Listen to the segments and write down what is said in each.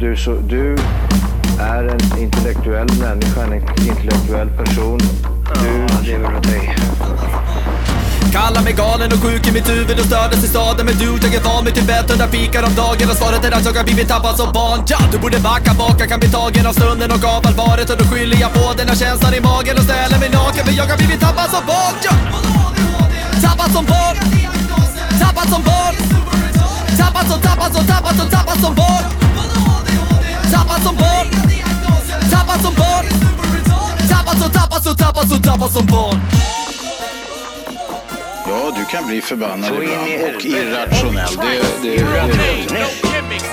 du, så, du är en intellektuell människa, en intellektuell person. Du lever åt dig. Kallar mig galen och sjuk i mitt huvud och stördes i staden Men du, jag är van vid Tibet, hundra fikar om dagen Och svaret är att jag har blivit tappad som barn ja! Du borde backa bak, jag kan bli tagen av stunden och av allvaret Och då skyller jag på den här känslan i magen och ställer mig naken För jag har blivit tappad som barn ja! Tappad som barn Tappad som barn Tappad som, tappad som, tappad som, tappad som barn Tappad som barn Tappad som barn Tappad som, tappad som, tappad som, tappad som barn Ja, du kan bli förbannad Så in i ibland och helvete. irrationell. Det, det, Hey, det, no gimmicks.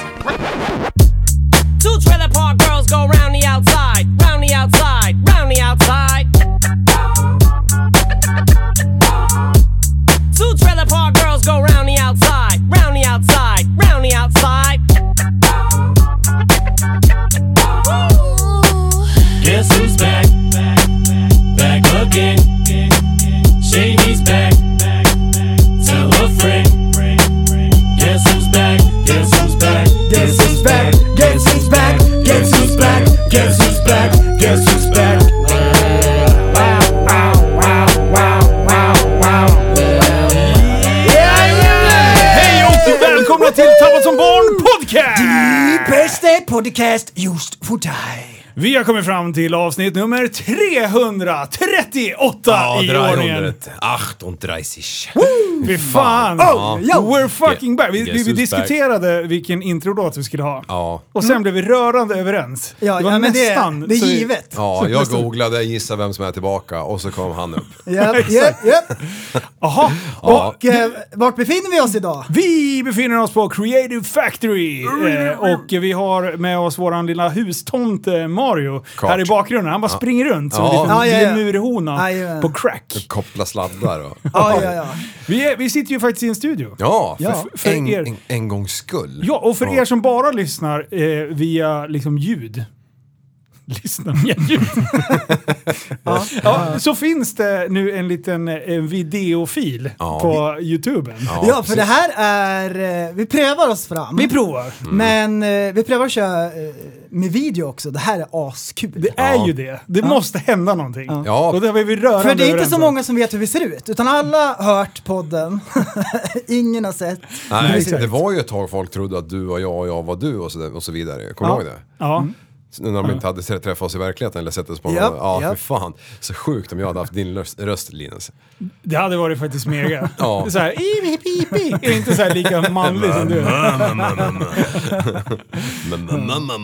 Two trailer park girls go round the outside, round the outside, round the outside. Two trailer park girls go round the outside, round the outside, round the outside. Guess who's back? Back again. Shady's back. Tell a friend. Guess who's back? Guess who's back? Guess who's back? Guess who's back? Guess who's back? Guess who's back? Guess who's back? Wow, wow, wow, wow, wow, wow. Hej och välkomna till Tappat som barn podcast! Bästa podcast just för dig. Vi har kommit fram till avsnitt nummer 338 i ordningen. 338. Fy fan! Oh, Ja. We're fucking Ge- back! Vi, vi, vi Jesus diskuterade vilken introlåt vi skulle ha. Ja. Och sen blev vi rörande överens. Mm. Ja, det var ja men det, nästan... det är så vi- givet. Ja, jag googlade, gissa vem som är tillbaka och så kom han upp. Japp, japp, japp. Jaha. Ja. Och eh, vart befinner vi oss idag? Vi befinner oss på Creative Factory eh, och vi har med oss våran lilla hustomte Mario Kart. här i bakgrunden. Han bara springer runt som en Ja. liten Ja, ja, ja. lemurhona Ja, ja. på crack. Koppla sladdar och... Ja, ja, ja. Vi, är, vi sitter ju faktiskt i en studio. Ja, för, Ja, för en, er. en, en gångs skull. Ja, och för er som bara lyssnar eh, via liksom ljud. Lyssna via ljud. ja. så finns det nu en liten eh, en videofil Ja. på Youtube. Ja, för det här är... eh, Vi prövar oss fram. Vi provar. Mm. Men eh, vi prövar att köra eh, med video också. Det här är askul. Det är ju det. Det måste hända någonting. Ja. Och det har vi rörande För det är inte överens så om. många som vet hur vi ser ut, utan alla har hört podden. Ingen har sett. Nej, exakt. det var ju ett tag folk trodde att du var jag och jag var du och så, där, och så vidare. Kommer du ihåg det? Ja. Så När de inte hade sett- träffat oss i verkligheten eller sett oss på Japp, någon. Ja, japp. för fan. Så sjukt om jag hade haft din röst, röst Linus. Det hade varit faktiskt mega. Ja. Så här, "Ip, ip, ip, ip." Är inte så här lika manlig som du. Mm, Mamma,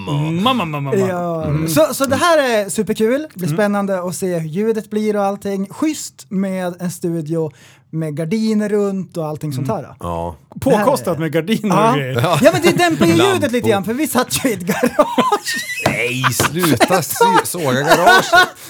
mamma, mamma. Ja. Så, så det här är superkul. Det Mm. blir spännande att se hur ljudet blir och allting. Schysst med en studio med gardiner runt och allting sånt här. Mm. Ja. Påkostat med gardiner och Ja. grejer. ja men det dämpar ju ljudet lite Lampor. grann för vi satt ju i ett garage. Nej, sluta sy- såga garaget!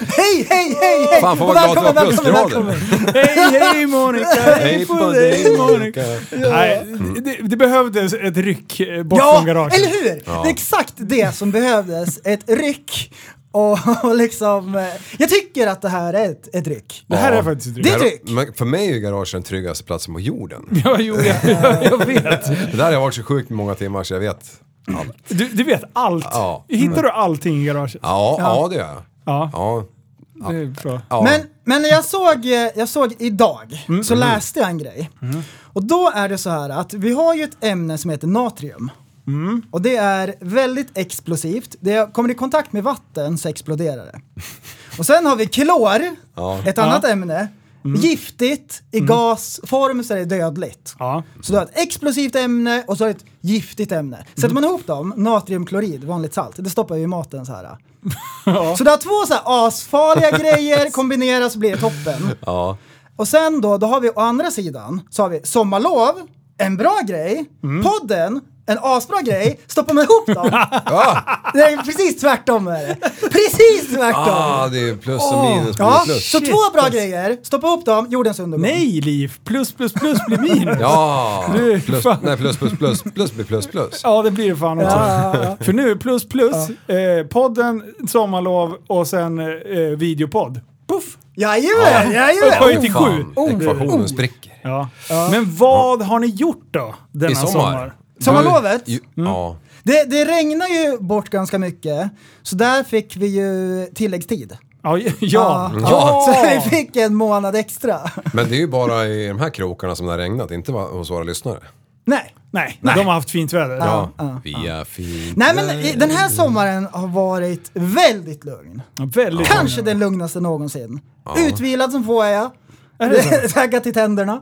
Hej, hej, hej, hej! Fan, får Och vara glad att det var välkommen, plusgrader. välkommen. Hej, hej Monica! Hej på dig dig Monica! Monica! Nej, det, det behövdes ett ryck eh, bort Ja, från garaget. eller hur? Det är exakt det som behövdes. Ett ryck och, och liksom... eh, Jag tycker att det här är ett, ett ryck. Det här Ja. är faktiskt ett ryck. Det är tryck. Men för mig är ju garaget den tryggaste platsen på jorden. Ja, jo, jag, jag vet. Det där har jag varit så sjukt många timmar så jag vet allt. Du, du vet allt. Ja. Hittar du allting i garaget? Ja, ja, det gör jag. Ja. Ja. Det är bra. ja. Mm. Men, men när jag såg, eh, jag såg idag så läste jag en grej. Och då är det så här att vi har ju ett ämne som heter natrium. Mm. Och det är väldigt explosivt. Det kommer i kontakt med vatten så exploderar det. Och sen har vi klor, Ja. Mm. ett annat ämne. Giftigt, i gasform så är det dödligt. Ja. Så du har ett explosivt ämne och så har du ett giftigt ämne. Sätter man ihop dem, natriumklorid, vanligt salt, det stoppar vi i maten så här. Så du har två så här asfarliga grejer, kombineras så blir det toppen. ja. Och sen då, då har vi å andra sidan, så har vi sommarlov, en bra grej, podden, en asbra grej, stoppar man ihop dem. Det är precis tvärtom är det. Precis tvärtom! Ah, det är plus och minus blir ja, plus. så två bra grejer, stoppa ihop dem, jordens undergång. Nej, Liv! Plus, plus, plus blir minus. Ja, Du, plus, fan. nej, plus, plus, plus, plus blir plus, plus. Ja, det blir det fan också. För nu, är plus plus, eh, podden, sommarlov och sen eh, videopodd. Puff! Jajamän, Upphöjt jajamän! till sju. Ekvationen spricker. Ja. Men vad har ni gjort då denna I sommar. sommar? Sommarlovet? Ju- Ja. Det, det regnar ju bort ganska mycket, så där fick vi ju tilläggstid. Ja, ja. ja. Så vi fick en månad extra. Men det är ju bara i de här krokarna som det har regnat, inte va- hos våra lyssnare. Nej. Nej, de har haft fint väder. Ja, vi är fint. Nej men i- den här sommaren har varit väldigt lugn. Väldigt Kanske den lugnaste någonsin. Utvilad som få är jag. Taggad i tänderna.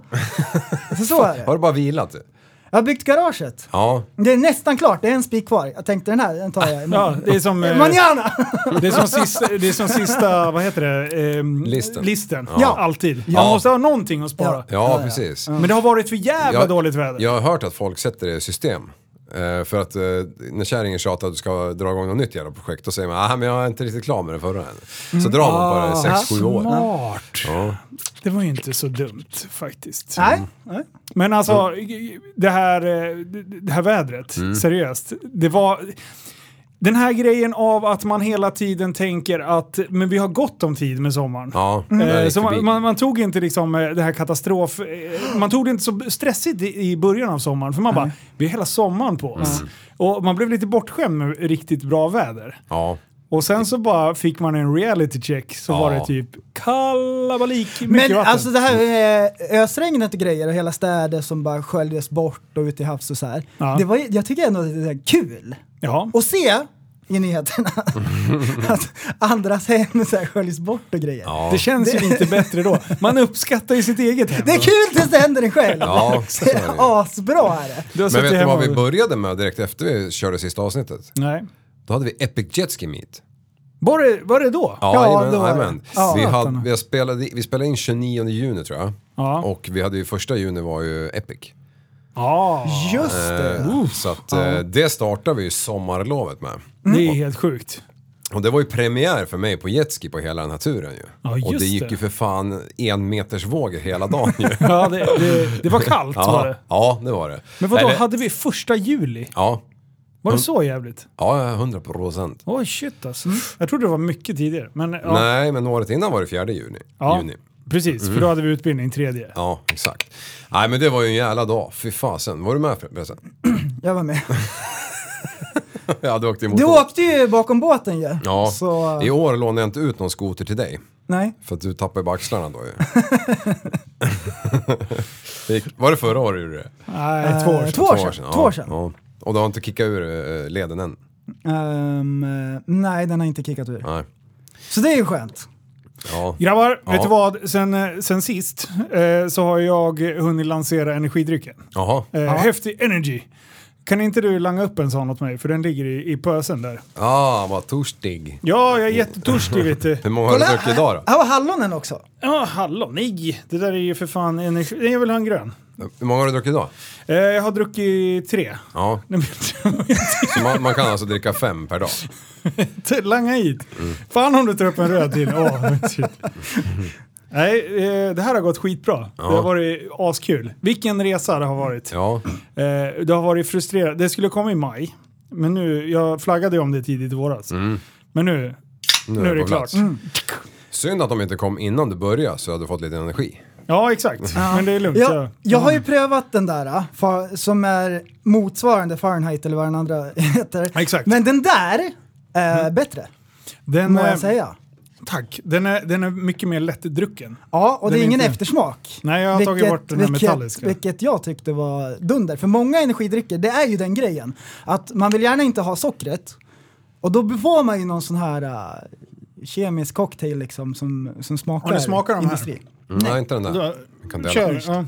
Så, så är Har det. du bara vilat? du? Jag har byggt garaget. Ja. Det är nästan klart, det är en spik kvar. Jag tänkte den här, den tar jag Ja, imorgon. det är som... eh, Manana! Det är som sista, det är som sista vad heter det? Ehm, Listen. listen. Ja. Alltid. Man Ja. måste ha någonting att spara. Ja, precis. Men det har varit för jävla Jag- dåligt väder. Jag har hört att folk sätter det i system. Eh, för att eh, när kärringen tjatar att du ska dra igång något nytt jävla projekt, då säger man ah, men jag är inte riktigt klar med det förra än. Så drar man på det Ah. i 6-7 år. Smart. Ja. Det var ju inte så dumt faktiskt. Nej, Men alltså, Mm. det här, eh, det här vädret, seriöst. Det var... Den här grejen av att man hela tiden tänker att men vi har gott om tid med sommaren. Ja, Eh, där gick Så man, förbi. man, man tog inte liksom eh, det här katastrof... eh, Man tog det inte så stressigt i, i början av sommaren för man bara, vi har hela sommaren på oss. Mm. Och man blev lite bortskämd med riktigt bra väder. ja. Och sen så bara fick man en reality check så Ja. var det typ kalabalik, mycket men vatten. Mm. alltså det här eh, ösregnet och grejer och hela städer som bara sköljdes bort och ut i havs och så här. Ja. Det var, ju- jag tycker ändå att det är kul ja. att se i nyheterna att andras hem så här sköljs bort och grejer. Det känns ju lite bättre då. Man uppskattar ju sitt eget hem. Det är kul tills det händer en själv. Ja, Det är asbra är det. Du har Men suttit vet du hemma vad vi och- började med direkt efter vi körde sista avsnittet? Nej. Då hade vi Epic Jetski Meet. Var det, var det då? Ja, Ja, det var jajamän, jajamän. det. Ja. Vi, hade, Satan. vi, spelade, vi spelade in 29 juni tror jag. Ja. Och vi hade ju första juni var ju Epic. Ja. Just det. Eh, Så att, eh, det startade vi ju sommarlovet med. Det är helt sjukt. Och det var ju premiär för mig på jetski på hela den här turen ju. Ja, och just det gick det. ju för fan en meters vågor hela dagen ju. Ja, det, det, det var kallt var ja, det. ja, det var det. Mm. Men vadå, Eller- hade vi första juli? Ja, Var det så jävligt? ja, 100 procent. Oj shit alltså. Jag trodde det var mycket tidigare. Men, ja, Mm. Nej, men året innan var det fjärde juni. ja, juni. Mm. Precis, för då hade vi utbildning tredje. Ja, exakt. Nej, men det var ju en jävla dag. Fy fasen. Var du med förresten? Jag var med. ja, du åkte emot. Du åkte ju bakom båten ju. Ja, Så, i år lånade jag inte ut någon skoter till dig. nej. För att du tappade ju bara axlarna då ju. Det gick- var det förra året du gjorde det? Nej, Eh, två Eh, år Eh, Två sedan. år sedan. Två år sedan. Ja, ja. Och du har inte kickat ur eh, leden än? Ehm, eh, nej, den har inte kickat ur. Nej. Så det är ju skönt. Ja. Grabbar, Ja. vet du vad? Sen, eh, sen sist eh, så har jag hunnit lansera energidrycken. Jaha. Eh, Häftig Energy. Kan inte du langa upp en sån åt mig? För den ligger i, i pösen där. Ah, vad törstig. Ja, jag är jättetörstig vet du. Hur många har du druckit idag då? Här var hallonen också. Ja, hallon, nej. Det där är ju för fan energi. Nej, Jag vill ha en grön. Hur många har du druckit idag? Eh, jag har druckit tre. Ja, Nej, men- så man, man kan alltså dricka fem per dag. T- Langa hit. Fan om du tar upp en röd till. Åh, men shit. Nej, eh, det här har gått skitbra. Det har varit askul. Vilken resa det har varit. Ja, Eh, Det har varit frustrerande. Det skulle komma i maj, men nu, jag flaggade ju om det tidigt i våras. Men nu, nu, är det på plats. klart. Mm. Synd att de inte kom innan du började så jag hade fått lite energi. Ja, exakt. Men det är lugnt. Jag, så- jag har ju prövat den där äh, fa- som är motsvarande Fahrenheit eller vad den andra heter. Exakt. Men den där är bättre, Den, må eh, jag säga. Tack. Den är, den är mycket mer lättdrucken. Ja, och det den är är ingen inte- eftersmak. Nej, jag har tagit bort den här metalliska. Vilket jag tyckte var dunder. För många energidrycker, det är ju den grejen. Att man vill gärna inte ha sockret. Och då får man ju någon sån här äh, kemisk cocktail liksom som, som smakar, det smakar de här. industri. Mm, nej, inte den där. Jag kan dela. Kör. Ja.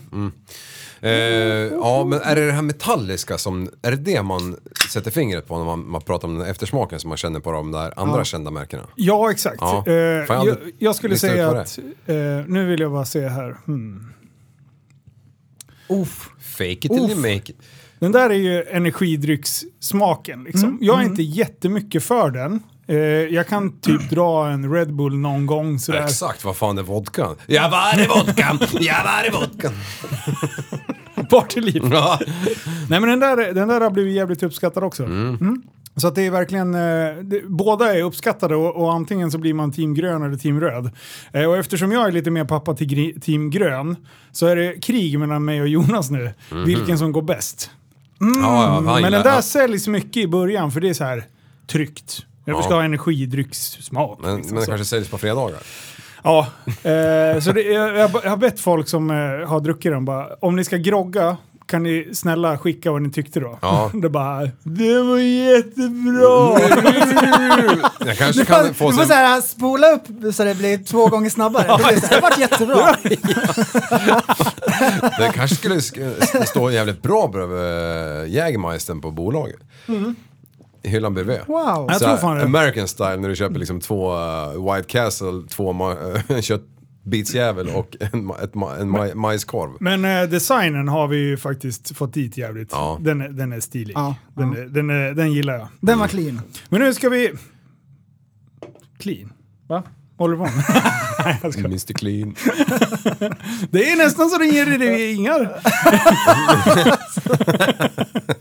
Eh, ja, men är det det här metalliska som, är det det man sätter fingret på när man, man pratar om den eftersmaken som man känner på de där andra kända märkena? Ja, exakt. Ja. Eh, jag, Fan, du- jag skulle lista ut säga vad det att... eh, nu vill jag bara se här. Hmm. Uff. Fake it till you make it. Den där är ju energidryckssmaken. Liksom. Mm. jag är inte jättemycket för den. Eh, jag kan typ dra en Red Bull någon gång sådär. Exakt, vad fan är vodkan? Jag var i vodkan, jag var i vodkan. Bart i livet. Ja. Nej men den där, den där har blivit jävligt uppskattad också. Mm. Så att det är verkligen, eh, det, båda är uppskattade och, och antingen så blir man team grön eller team röd. Eh, och eftersom jag är lite mer pappa till gri, team grön så är det krig mellan mig och Jonas nu, vilken som går bäst. Mhm. ja, ja, han Mm, Men gillar- den där han- säljs mycket i början för det är så här tryggt. Jag ska ha energidryckssmak. Men, liksom, men det så. kanske säljs på fredagar. Ja, eh, så det, jag, jag har bett folk som eh, har druckit den bara, om ni ska grogga kan ni snälla skicka vad ni tyckte då? Ja. Det bara, det var jättebra! Jag Mm. kanske Du får, kan du få får sin... så här, spola upp så det blir två gånger snabbare. Det, blir, så här, det vart jättebra. Det kanske skulle sk- stå jävligt bra bredvid Jägermeistern på bolaget. Mm. I hyllan bredvid. Wow. Jag Så tror här, fan det. American style när du köper liksom två eh, White Castle, två ma- en köttbitsjävel och en, ma- ett ma- en maj- majskorv. Men eh, designen har vi ju faktiskt fått dit jävligt. Ja. Den, är- den är stilig. Ja, Den, är- den, är- den gillar jag. Den var clean. Men nu ska vi... Clean? Va? Håller du på med? Mr Clean. Det är nästan så det ringer det ringar.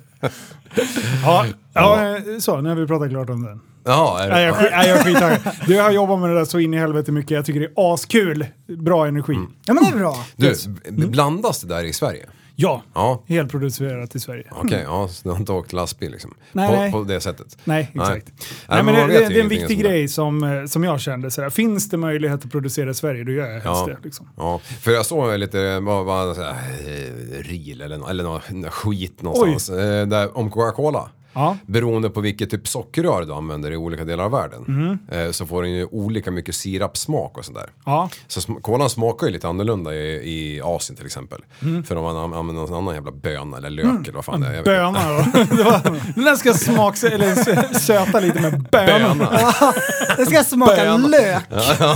ja, ja, eh, så nu har vi pratat klart om den. Jaha, är det? Nej, jag, sk- nej, jag är skittaggad. Du, jag har jobbat med det där så in i helvete mycket. Jag tycker det är askul. Bra energi. Ja men det är bra. Du, b- Mm. blandas det där i Sverige? Ja, Ja. helproducerat i Sverige. Okej, ja, så du har inte åkt lastbil liksom? Mm. Nej, på, nej. på det sättet? Nej, exakt. Nej, Nej, men men man det, vet det, ju det är en ingenting viktig sånt där. grej som, eh, som jag kände. Sådär. Finns det möjlighet att producera i Sverige, då gör jag helst Ja. det. Liksom. Ja, för jag såg lite, vad var det, så här, eh, reel eller, nå- eller nå- skit någonstans, eh, där, om Coca-Cola. Ja. Beroende på vilket typ sockerrör du använder i olika delar av världen eh, så får den ju olika mycket sirapssmak och sådär. Mm-hmm. Ja. Så sm- kolan smakar ju lite annorlunda i, i Asien till exempel. Mm. För om man an- använder någon annan jävla böna eller lök eller vad fan det är. jag vet inte. Böna då. Det var- Den där ska smaks, eller sö- söta lite med bönor. Böna. Det ska smaka Bön. lök.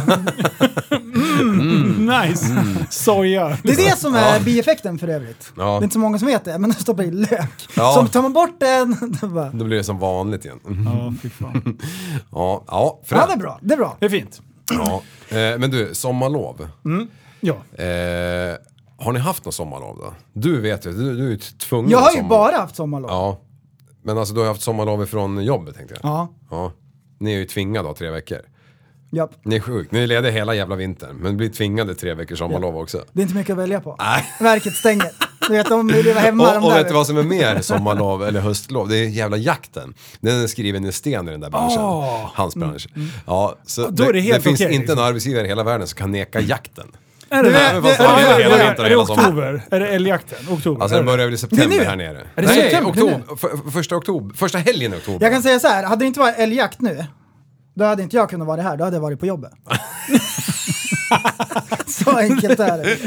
Nice! Soja. Det är det som är bieffekten för övrigt. Ja. Det är inte så många som vet det, men de stoppar i lök. Ja. Så tar man bort den, då bara... Då blir det som vanligt igen. Mm. Ja, fy fan. Ja, ja, Ja fränt. det är bra, det är Mm, bra. Mm, Det är fint. ja. Eh, Men du, sommarlov. Ja. Eh, har ni haft något sommarlov då? Du vet ju, du, du är ju tvungen Jag har att ju sommar- bara haft sommarlov. Ja. Ja. Men alltså du har haft sommarlov ifrån jobbet tänkte jag. Ja, Ja. Ni är ju tvingade av tre veckor. Ni är sjukt, ni är lediga hela jävla vintern. Men blir tvingade tre veckors sommarlov också. Det är inte mycket att välja på. Verket stänger. Du vet, de vill leva hemma de Och, och där. vet du vad som är mer sommarlov eller höstlov? Det är jävla jakten. Den är skriven i sten i den där branschen. Ah. Hans bransch. Ja, så Mm. då är det det, helt finns okej, inte liksom. Mm. en arbetsgivare i hela världen som kan neka jakten. Alltså, Är det, Du vet, det, vad det, fan, är det är det, hela är vintern och det hela sommaren. oktober? Är det älgjakten? Oktober? Alltså den börjar väl i september nu? här nere. det Nej, september? oktober. F- första oktober. Första helgen i oktober. Jag kan säga så här, hade det inte varit älgjakt nu, då hade inte jag kunnat vara här, då hade jag varit på jobbet. så enkelt är det.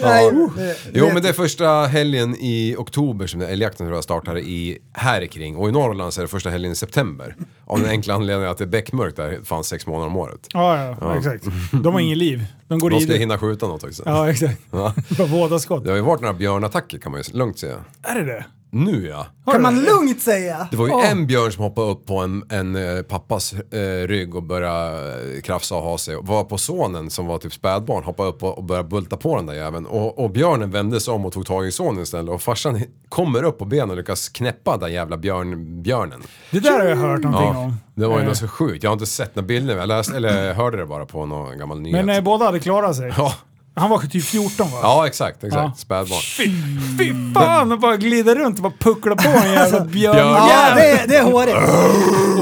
Nej, eh, det- Jo det- men det är första helgen i oktober som den här älgjakten tror jag startar i, här kring. Och i Norrland så är det första helgen i september. Av den enkla anledningen att det är beckmörkt där fanns sex månader om året. Ja, ja, exakt. De har ingen liv. De går De ska i... hinna skjuta något också. Ja, exakt. Ja. Bara Båda skott. Det har ju varit några björnattacker kan man ju lugnt säga. Är det det? Nu ja. Har kan du man det? lugnt säga. Det var ju en björn som hoppade upp på en, en eh, pappas eh, rygg och började eh, krafsa och ha sig. Och var på sonen som var typ spädbarn hoppade upp och, och började bulta på den där jäveln. Och, och björnen vände sig om och tog tag i sonen istället. Och farsan h- kommer upp på benen och lyckas knäppa den jävla björn, björnen. Det där har jag hört någonting om. Det var ju Eh, något så sjukt. Jag har inte sett några bilder. Jag läste, eller hörde det bara på någon gammal nyhet. Men eh, båda hade klarat sig. ja. Han var typ 14 va? ja, exakt. exakt. Ja. Spädbarn. Fy, fy fan, de bara glider runt och bara pucklar på en Alltså, jävla björn. Björn. Ja, det, är- det är hårigt.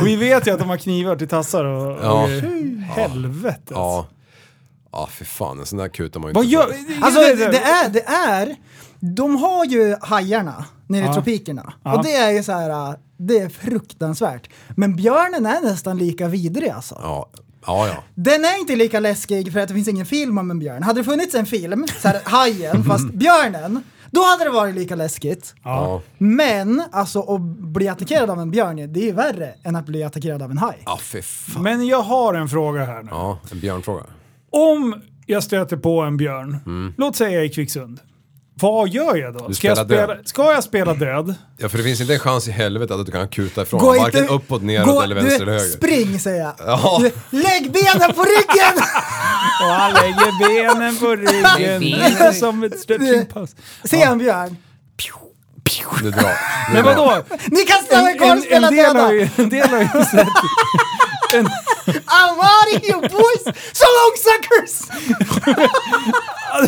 Och vi vet ju att de har knivar till tassar och, Ja. och helvetet. Ja. Ja, fy fan. En sån där kutar man ju Vad inte gör... på. Alltså det, det är, det är, de har ju hajarna nere i tropikerna. Och det är ju så här, äh, det är fruktansvärt. Men björnen är nästan lika vidrig alltså. Ja, ja. ja. Den är inte lika läskig för att det finns ingen film om en björn. Hade det funnits en film, så här, Hajen, fast björnen, då hade det varit lika läskigt. ja. Men alltså att bli attackerad av en björn, det är värre än att bli attackerad av en haj. Ja, fy fan. Men jag har en fråga här nu. Ja, en björnfråga. Om jag stöter på en björn, låt säga jag är i Kvicksund. Vad gör jag då? Mm. Du Ska jag, spelar spela, död. ska jag spela död? Ja, för det finns inte en chans i helvetet att du kan kuta ifrån. Varken uppåt, neråt gå- eller vänster du, eller höger. Spring säger jag. Ja. Du, lägg benen på ryggen! Och han lägger benen på ryggen. Det är som ett stretchingpass. Se en björn. Du drar. Du Men drar. vadå? Ni kan spela En, en, golfspel en, del har döda. ju, en del har ju sett... I'm out of you boys! So long suckers!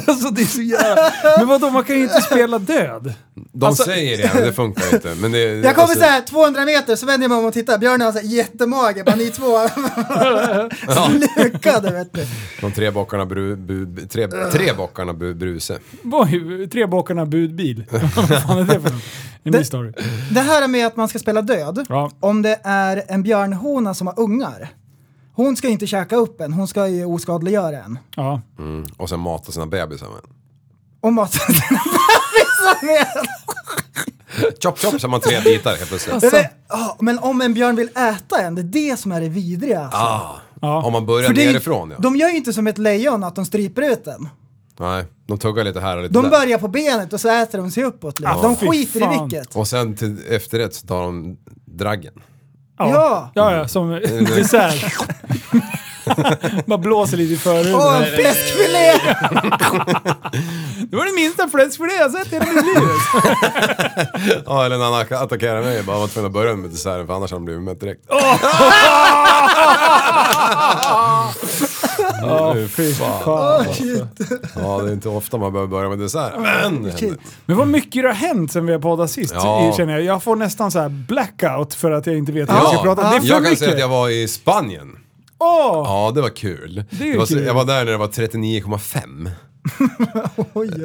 Alltså det är så jävla... Men vadå, man kan ju inte spela död. De Alltså- säger det, men det funkar inte. Men det, Jag kommer alltså- såhär 200 meter så vänder jag mig om och tittar. Björn har såhär jättemage, bara ni två slukade vet du. De tre bockarna, bru, bu, tre, tre bockarna bu, Bruse. Oj, Trebockarna budbil. Vad fan är det för en- en ny Det- story? Det här med att man ska spela död, Ja. om det är en björnhona som har ungar. Hon ska ju inte käka upp en, hon ska ju oskadliggöra en. Ja. Och sen mata sina bebisar med. Och mata sina bebisar med. Chop chop så har man tre bitar helt plötsligt. Jag vet- ja, Men om en björn vill äta en, det är det som är det vidriga. Alltså. Ah, Ja. Om man börjar För det är ju- nerifrån ja. De gör ju inte som ett lejon, att de stryper ut en. Nej, de tuggar lite här och lite De där. börjar på benet och så äter de sig uppåt. Liksom. Ah, de fy skiter fan. i vilket. Och sen till efterrätt så tar de draggen. Ja. Ja. ja, ja, som dessert. Bara blåser lite i Åh, förhuden. en fläskfilé! Det var det minsta fläskfilé jag sett i hela mitt liv. Ja, eller när han attack- attackerar mig. Jag bara var tvungen att börja med desserten för annars hade han blivit mätt direkt. Ja, fy fan. Åh, shit. Ja, det är inte ofta man behöver börja med dessert. Men! det händer. Shit. Men vad mycket det har hänt sen vi har poddat sist. Ja. Känner jag. jag får nästan så här blackout för att jag inte vet vad jag ska Ja, prata om. Det är för jag kan mycket. säga att jag var i Spanien. Åh! Ja, det var kul. är ju var, så- kul. Jag var där när det var 39,5.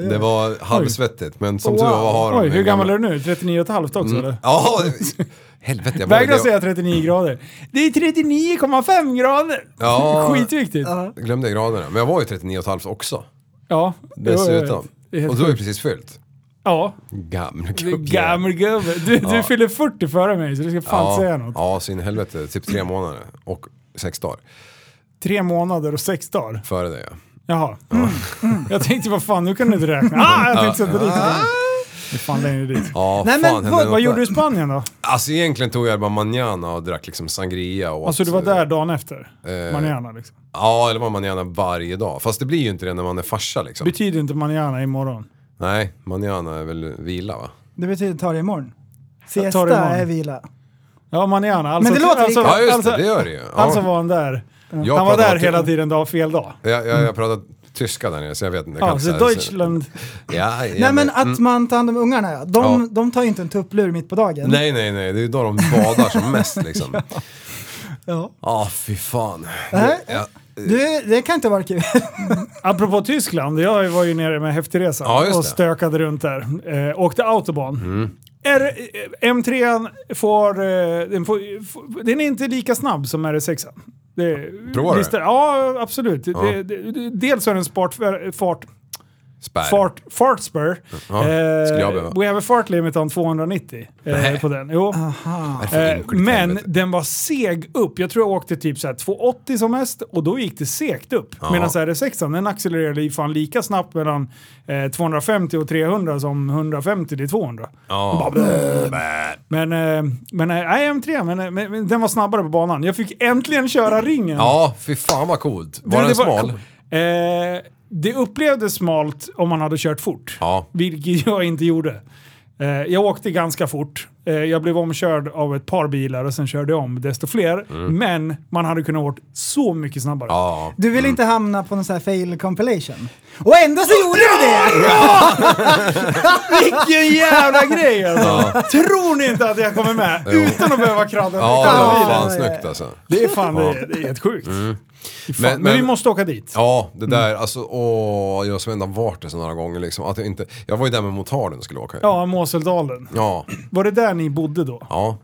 Det var halvsvettigt, men som tur var har Oj, de en Mm. hur gammal är du nu? 39,5 också eller? Ja, det- helvete. Jag var- Vägra jag- säga 39 grader. Det är 39,5 grader! Ja. Skitviktigt. Ja. glömde graderna, men jag var ju 39,5 också. det var- Dessutom. det är helt Och du har ju sjukt. precis fyllt. Ja, Gammal du är gammal gubbe. Du, du fyller 40 före mig så du ska fan ja, säga något. Ja, så in i helvete. Typ tre månader och sex dagar Tre månader och sex dagar. före det. Ja. Jaha. Mm, Jag tänkte vad fan, nu kan du inte räkna. Ah, jag tänkte sätta dit det. Det är fan längre dit. Ja, Nej, fan, men hände vad- något Vad gjorde där? du i Spanien då? Alltså egentligen tog jag bara manjana och drack liksom sangria och åt- eh, Alltså du var där dagen efter? Manana liksom. Ja, eller var manjana varje dag. Fast det blir ju inte det när man är farsa liksom. Betyder inte manana imorgon? Nej, manjana är väl vila va? Det betyder ta det imorgon. Siesta Ta det imorgon. är vila. Ja, manana. Alltså, Men det låter alltså, lika. Ja just alltså, det, det gör det ju. Ja. alltså var han där. Jag han var pratar där alltid- hela tiden, dag, fel dag. Jag, jag, jag pratar tyska där nere så jag vet inte. Jag kan Ja, inte så säga det. Deutschland. Ja, ja, Nej men att man tar hand om ungarna ja. De, Ja. de tar ju inte en tupplur mitt på dagen. Nej, nej, nej. Det är ju då de badar som mest liksom. Ja, Ja. fy fan. Nej. Ja, Du, det kan inte vara kul. Apropå Tyskland, jag var ju nere med Häftigresa Ja, just och det. Mm. stökade runt där. Eh, åkte autobahn. R, eh, M3 får, eh, den får, får... Den är inte lika snabb som R6. Det, Provar du? listar- Ja, absolut. Det, det, det, dels har den spart, fart, spärr. fart, fartspur. Eh, Ja, skulle jag behöva. we have a fart limit on 290 eh, Nej. Ah. på den. Jo. Varför Eh, ynkligt, Men helvete? den var seg upp. Jag tror jag åkte typ så här 280 som mest och då gick det segt upp. Medan R6 den accelererade ju fan lika snabbt mellan eh, 250 och 300 som 150 till 200. Ja. Men, eh, men eh, nej, M3, men, eh, men, men den var snabbare på banan. Jag fick äntligen köra ringen. ja, fy fan vad coolt. Var Du, den det smal? Eh, det upplevdes smalt om man hade kört fort. Ja. Vilket jag inte gjorde. Eh, jag åkte ganska fort. Eh, jag blev omkörd av ett par bilar och sen körde jag om desto fler. Men man hade kunnat åkt så mycket snabbare. Mm. Ja. Du vill inte hamna på någon sån här fail compilation. Och ändå så gjorde du det! Vilken jävla grej alltså! Tror ni inte att jag kommer med? Utan att behöva kradda Ja, det kradda var bilen? fan ja, snyggt alltså. Det är fan det, är- det är helt sjukt. Fy Fan. Men, Mm. Men- vi men- måste åka dit. Ja, det där, alltså åh, jag som ändå har varit där så några gånger liksom. Att jag, inte, jag var ju där med motarden och skulle åka. Ja, Moseldalen. Ja, Var det där ni bodde då? ja,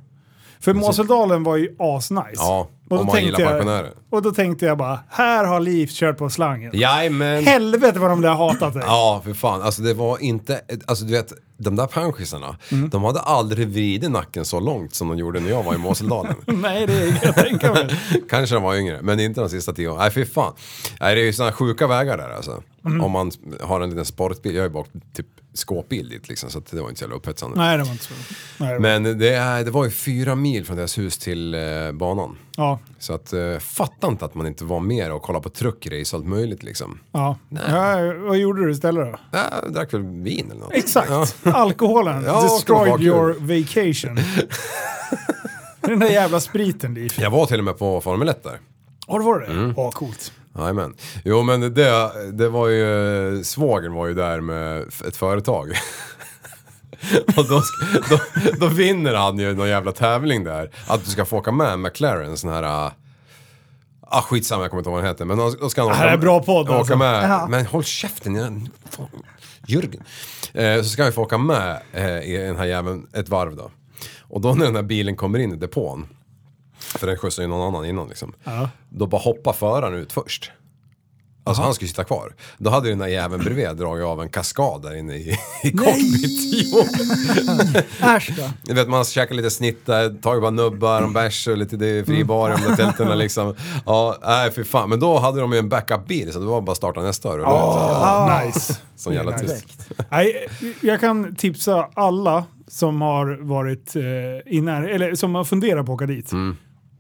För Moseldalen var ju asnice. Ja, om man gillar pensionärer. och då tänkte jag bara, här har Liv kört på slangen. Jajamän. Helvete vad de där hatat dig. Ja, för fan. Alltså det var inte... Alltså du vet, de där panschisarna, Mm. de hade aldrig vridit nacken så långt som de gjorde när jag var i Moseldalen. Nej, det kan jag tänka mig. Kanske de var yngre, men inte de sista tio åren. Nej, fy fan. Nej, det är ju sådana sjuka vägar där alltså. Mm. Om man har en liten sportbil. Jag har ju bara åkt typ skåpbil dit liksom, så att det var inte så jävla upphetsande. Nej, det var inte så. Nej, det var- Men det, är, det var ju fyra mil från deras hus till eh, banan. Ja, Så att eh, fatta inte att man inte var med och kollade på truckrace och allt möjligt liksom. ja. ja. Vad gjorde du istället då? Äh, drack väl vin eller något. Exakt. Ja. Alkoholen Ja, och destroyed bakgrund. your vacation. Den där jävla spriten, Liv. Jag var till och med på Formel 1 där. Har du varit det? Mm. Ja, coolt. Jajamän. Jo men det, det var ju, svågern var ju där med f- ett företag. Och då, ska- då, då vinner han ju någon jävla tävling där. Att du ska få åka med en McLaren, en sån här... äh, Ah skitsamma, jag kommer inte ihåg vad den heter. Men då då ska han Det här är bra podd, åka alltså. med. Ja. Men håll käften, jag, fan, Jörgen. Eh, så ska han ju få åka med eh, i den här jäveln ett varv då. Och då när den här bilen kommer in i depån, för den skjutsar ju någon annan innan liksom. Då bara hoppar föraren ut först. Alltså han skulle sitta kvar. Då hade ju den där jäveln bredvid dragit av en kaskad där inne i, i cockpit. Jo. Äsch då. Du vet man käkar lite snitt där, tar ju bara nubbar och bärs och lite det är Mm. fribar i de där tälterna liksom. Ja, nej för fan. Men då hade de ju en backupbil så det var bara att starta nästa och rulla ut. Ah, Nice. Sån jävla Nice. tyst. Perfekt. Nej, jag kan tipsa alla som har varit eh, i när, eller som har funderat på att åka dit.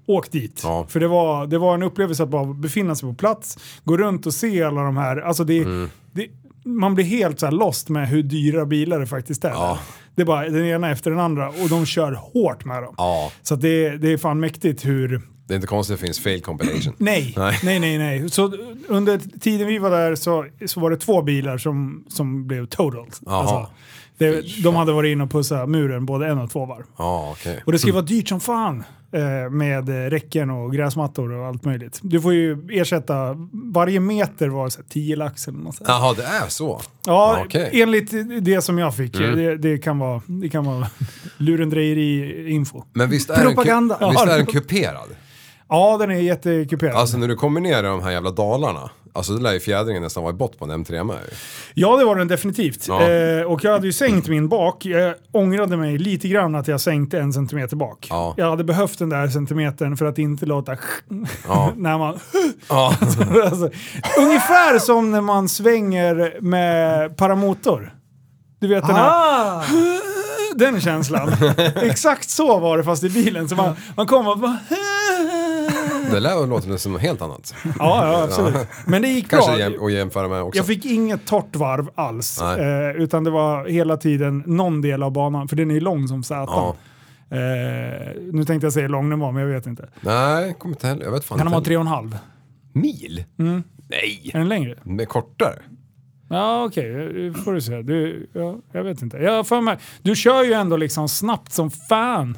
Åk dit. Mm. Ja. För det var, det var en upplevelse att bara befinna sig på plats, gå runt och se alla de här. Alltså det, Mm. det, man blir helt så här lost med hur dyra bilar det faktiskt är. Ja. Det är bara den ena efter den andra och de kör hårt med dem. Ja. Så att det, det är fan mäktigt hur... Det är inte konstigt att det finns fail compilation. Nej, Nej. nej, nej, nej. Så under tiden vi var där så, så var det två bilar som, som blev totaled. Alltså, Jaha. det, de hade varit inne och pussat muren både en och två varv. Ja, Ah, okej. Och det ska ju vara dyrt som fan eh, med eh, räcken och gräsmattor och allt möjligt. Du får ju ersätta varje meter var så här 10 lax eller något sånt. Jaha, det är så? Ah, Ja, okej. Mm. enligt det som jag fick. Det, det kan vara, det kan vara lurendrejeri-info. Men visst är, den, Propaganda. ku- visst är den kuperad? Ja, den är jättekuperad. Alltså när du kommer ner i de här jävla dalarna, alltså det lär ju fjädringen nästan vara i bott på en M3 med ju. Ja, det var den definitivt. Ja. Eh, och jag hade ju sänkt min bak. Jag ångrade mig lite grann att jag sänkte en centimeter bak. Ja. Jag hade behövt den där centimetern för att inte låta Ja. när man... Ja. alltså, ungefär som när man svänger med paramotor. Du vet den här... Ah! Den känslan. Exakt så var det fast i bilen. Så man, man kom och bara... Det lär låta som något helt annat. Ja, ja, absolut. Men det gick Kanske bra. jäm- att jämföra med också. Jag fick inget torrt varv alls, Nej. eh, utan det var hela tiden någon del av banan, för den är ju lång som satan. Ja. Eh, nu tänkte jag säga hur lång den var, men jag vet inte. Nej, kommer inte heller. Jag vet fan Kan den inte vara tre och en halv? Mil? Nej! Är den längre? Med kortare? Ja, okej. eh, får du se. Du, ja, jag vet inte. Jag har för mig, du kör ju ändå liksom snabbt som fan.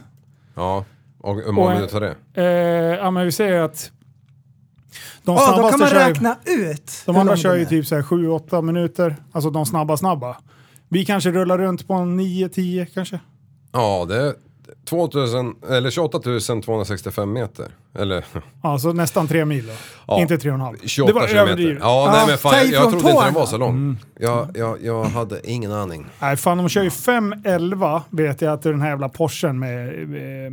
Ja. Och hur Och många en- minuter tar det? Eh, ja, men vi säger att de Ja, då snabbaste kan man kör ju- räkna ut De hur andra lång kör den ju är. typ 7-8 minuter, alltså de snabba snabba. Vi kanske rullar runt på en 9-10 kanske. Ja, det är 2000, eller 28 265 meter. Eller Ja, så Alltså, nästan tre mil då. Ja. Inte tre och en halv. 28 kilometer. Ja, nej men ta fan, jag, jag ifrån trodde inte den tårna. var så lång. Jag, jag, jag hade ingen aning. Nej, fan de kör ju 5.11 vet jag att det är den här jävla Porschen med... Eh,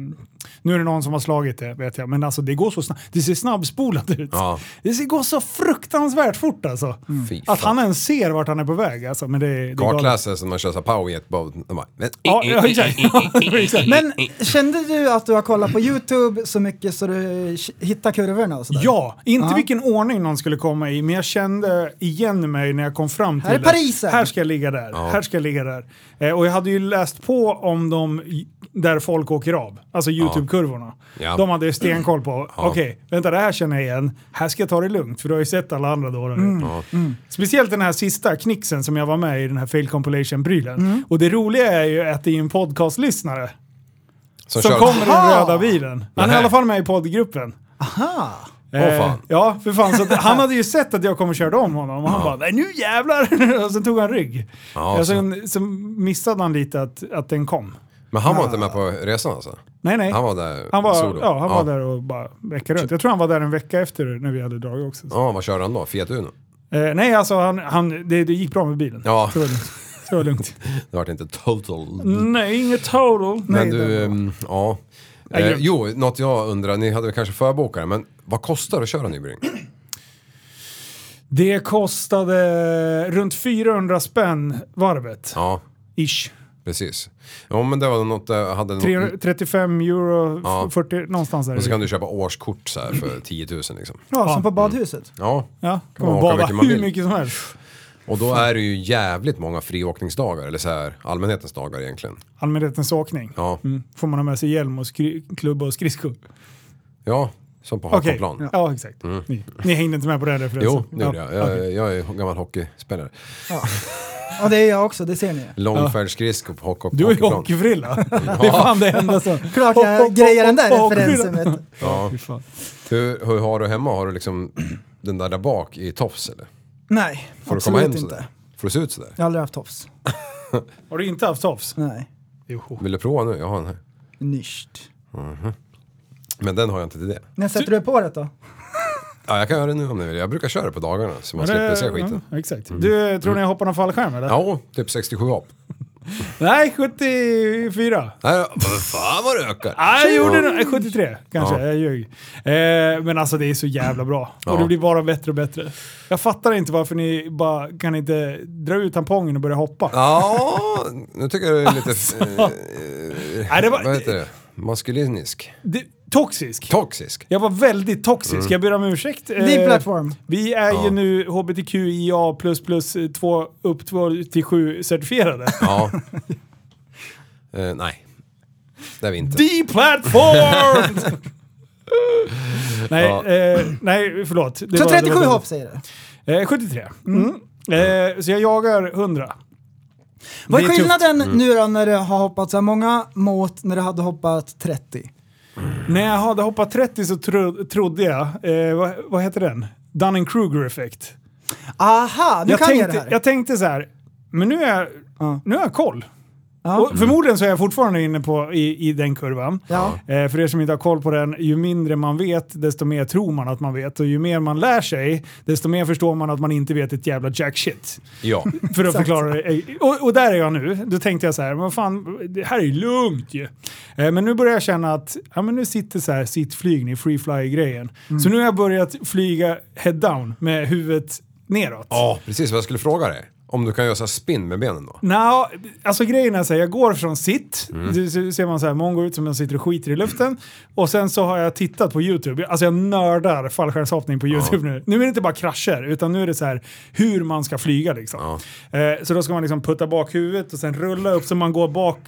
nu är det någon som har slagit det vet jag, men alltså det går så snabbt. Det ser snabbspolat ut. Ja. Det ser- går så fruktansvärt fort alltså. Fy Att fan. han ens ser vart han är på väg alltså. Men det, det är galet. Kartläsare som man kör såhär power jetboat. De bara, men- Ja, ja, exakt. Men kände du att du har kollat på YouTube så mycket så du k- hittar kurvorna och sådär? Ja, inte Ja. vilken ordning någon skulle komma i, men jag kände igen mig när jag kom fram till Här är det. Parisen. Här ska jag ligga där, här ska jag ligga där. Eh, och jag hade ju läst på om de i- där folk åker av, alltså YouTube-kurvorna. Ja. De hade ju stenkoll på, okej, vänta det här känner jag igen, här ska jag ta det lugnt, för du har ju sett alla andra dårar. Mm. Mm. Speciellt den här sista knixen som jag var med i, den här fail compilation-prylen. Mm. Och det roliga är ju att det är en podcastlyssnare Som, som kör, kommer i den Aha! röda bilen. Han är i Nähä. alla fall med i poddgruppen. Aha. Åh, fan. Eh, Ja, för fan. Så att, han hade ju sett att jag kommer körde om honom och han bara nej nu jävlar! Och sen tog han rygg. Ja, och sen, sen missade han lite att, att den kom. Men han var inte med på resan alltså? Nej nej. Han var där Han var, solo? ja, han var där och bara vecka runt. Jag tror han var där en vecka efter när vi hade dragit också. Ja, vad körde han då? Fiat Uno? Eh, nej alltså han, han, det, det gick bra med bilen. Ja. Så var det lugnt. Så var det lugnt. Det vart inte total... Nej, inget total. Mm. Men Nej, det- du, ehm, ja. Eh, grymt. jo, något jag undrar, ni hade väl kanske förbokat det, men vad kostar det att köra Nybring? Det kostade runt 400 spänn varvet. Ja, Ish. precis. Ja, men det var något, jag hade något, 335 euro, Mm. Ja. 40, någonstans där. och så kan du köpa årskort så här för 10 000 liksom. Ja, som på badhuset. Ja, Ja, Kan kan man man bada åka mycket man hur vill. mycket som helst. och då är det ju jävligt många friåkningsdagar, eller så här allmänhetens dagar egentligen. Allmänhetens åkning. Mm. Ja, Får man ha med sig hjälm och skri- klubba och skridskor? ja som på Okej, hockeyplan. ja. exakt. Ni, ni hängde inte med på den referensen? Jo, nu är ja. jag. Jag, jag är gammal hockeyspelare. Ja, det är jag också, det ser ni ju. Långfärdsskridskor på hockey- Du är ju hockeyplan. hockeyfrilla. Det är fan det enda som... Klart Hopp, hopp, jag grejer den där hopp, hopp, referensen. hockeyfrilla. vet du. Ja. Fy fan. Hur, hur har du hemma? Har du liksom den där där bak i tofs eller? Nej, Får du komma absolut hem inte. sådär? Får du se ut sådär? Jag har aldrig haft tofs. Har du inte haft tofs? Nej, Vill du prova nu? Jag har den här. nyscht. Men den har jag inte till det. När sätter du på det då? Eh, Ja, jag kan göra det nu om ni vill. Jag brukar köra det på dagarna så man slipper se skiten. Mm. Ja, exakt. Du, tror ni jag hoppar någon fallskärm eller? Ja, typ 67 hopp. Nej, 74. Nej, vad fan vad du ökar! Nej, jag gjorde det. 73 kanske, jag ljög. Eh, men alltså det är så jävla bra. Och Ja. det blir bara bättre och bättre. Jag fattar inte varför ni bara kan inte dra ut tampongen och börja hoppa. Ja, nu tycker jag det är lite... eh, Nej, det vad var heter det? Maskulinisk? det, toxisk. Toxisk? jag var väldigt toxisk, jag ber om ursäkt. Eh, Din plattform. Vi är ju nu HBTQIA++ två- upp 2 till 7 certifierade. Ja. Eh, nej, det är vi inte. Deplatformed! nej, Ja. eh, nej, förlåt. Det Så var- det var 37 dumt. hopp säger du? Eh, 73. Mm. Eh, så jag jagar 100. Vad är Det är tufft. skillnaden Mm. nu då när du har hoppat så här många mot när du hade hoppat 30? När jag hade hoppat 30 så tro, trodde jag, eh, vad, vad heter den? Dunning-Kruger effekt. Aha, nu Jag kan tänkte, jag det här. jag tänkte så här, men nu är jag, Ja. nu har jag koll. Ja. Och förmodligen så är jag fortfarande inne på, i, i den kurvan. Ja. Eh, för er som inte har koll på den, ju mindre man vet, desto mer tror man att man vet. Och ju mer man lär sig, desto mer förstår man att man inte vet ett jävla jack shit. Ja. För att förklara det. Och, och där är jag nu. Då tänkte jag så här, men fan, det här är ju lugnt ju. Eh, Men nu börjar jag känna att, ja men nu sitter så här sittflygning, free fly-grejen. Så nu har jag börjat flyga head down med huvudet neråt. Ja, precis vad jag skulle fråga dig. Om du kan göra så här spinn med benen då? Nå, alltså grejen är så här, jag går från sitt, du så ser man så här, många går ut som jag sitter och skiter i luften. Och sen så har jag tittat på YouTube, alltså jag nördar fallskärmshoppning på YouTube nu. Nu är det inte bara krascher, utan nu är det så här hur man ska flyga liksom. Eh, så då ska man liksom putta bak huvudet och sen rulla upp så man går bak,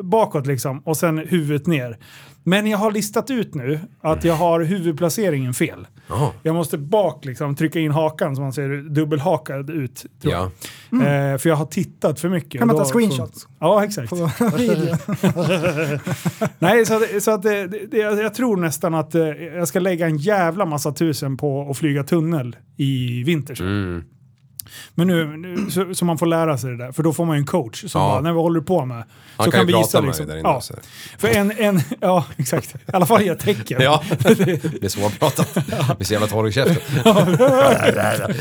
bakåt liksom och sen huvudet ner. Men jag har listat ut nu att jag har huvudplaceringen fel. Jag måste bak liksom, trycka in hakan så man ser dubbelhakad ut. Tror jag. Ja. Eh, för jag har tittat för mycket. Mm. Kan man Då ta screenshots? Ja, exakt. Video. Nej, så, att- så att det, det, det- jag tror nästan att eh, jag ska lägga en jävla massa tusen på att flyga tunnel i vinter. sen. Mm. Men nu, nu så, så man får lära sig det där, för då får man ju en coach som Ja. bara, när vi håller du på med? Han så kan ju prata med dig där inne liksom. ja. och så här. För en, en, ja exakt. I alla fall jag tecken. Ja, det är svårpratat. Jag blir så jävla torr i käften. Nej,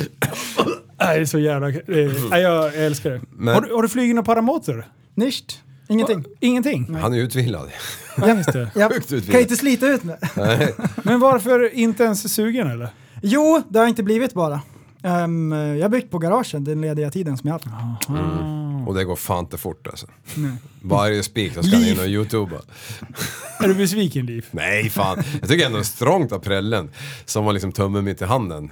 det är så jävla... Eh, nej, jag älskar det. Men- Har, du, har du flugit några paramotor? Nyscht. Ingenting. Ingenting? Han är utvilad. Ja, just det. Jag Sjukt utvilad. kan inte slita ut mig. Men varför inte ens sugen eller? Jo, det har inte blivit bara. Ehm, jag har byggt på garagen den lediga tiden som jag haft. Och det går fan inte fort alltså. Varje spik så ska han in och youtuba. Är du besviken Liv? Nej fan, jag tycker ändå det är strångt av prällen som har liksom tummen mitt i handen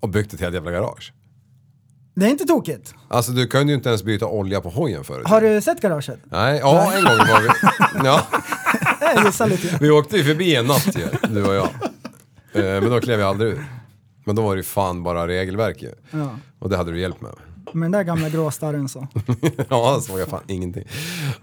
och byggt ett helt jävla garage. Det är inte tokigt. Alltså du kunde ju inte ens byta olja på hojen förut. Har du sett garaget? Nej, ja en gång var vi... Ja, Jag gissar lite. vi åkte ju förbi en natt ju, du och jag. Eh, Men då klev jag aldrig ur. Men då var det ju fan bara regelverk ju. Ja. Och det hade du hjälpt med. Med den där gamla gråstarren så. Typ Ja, så var jag fan ingenting.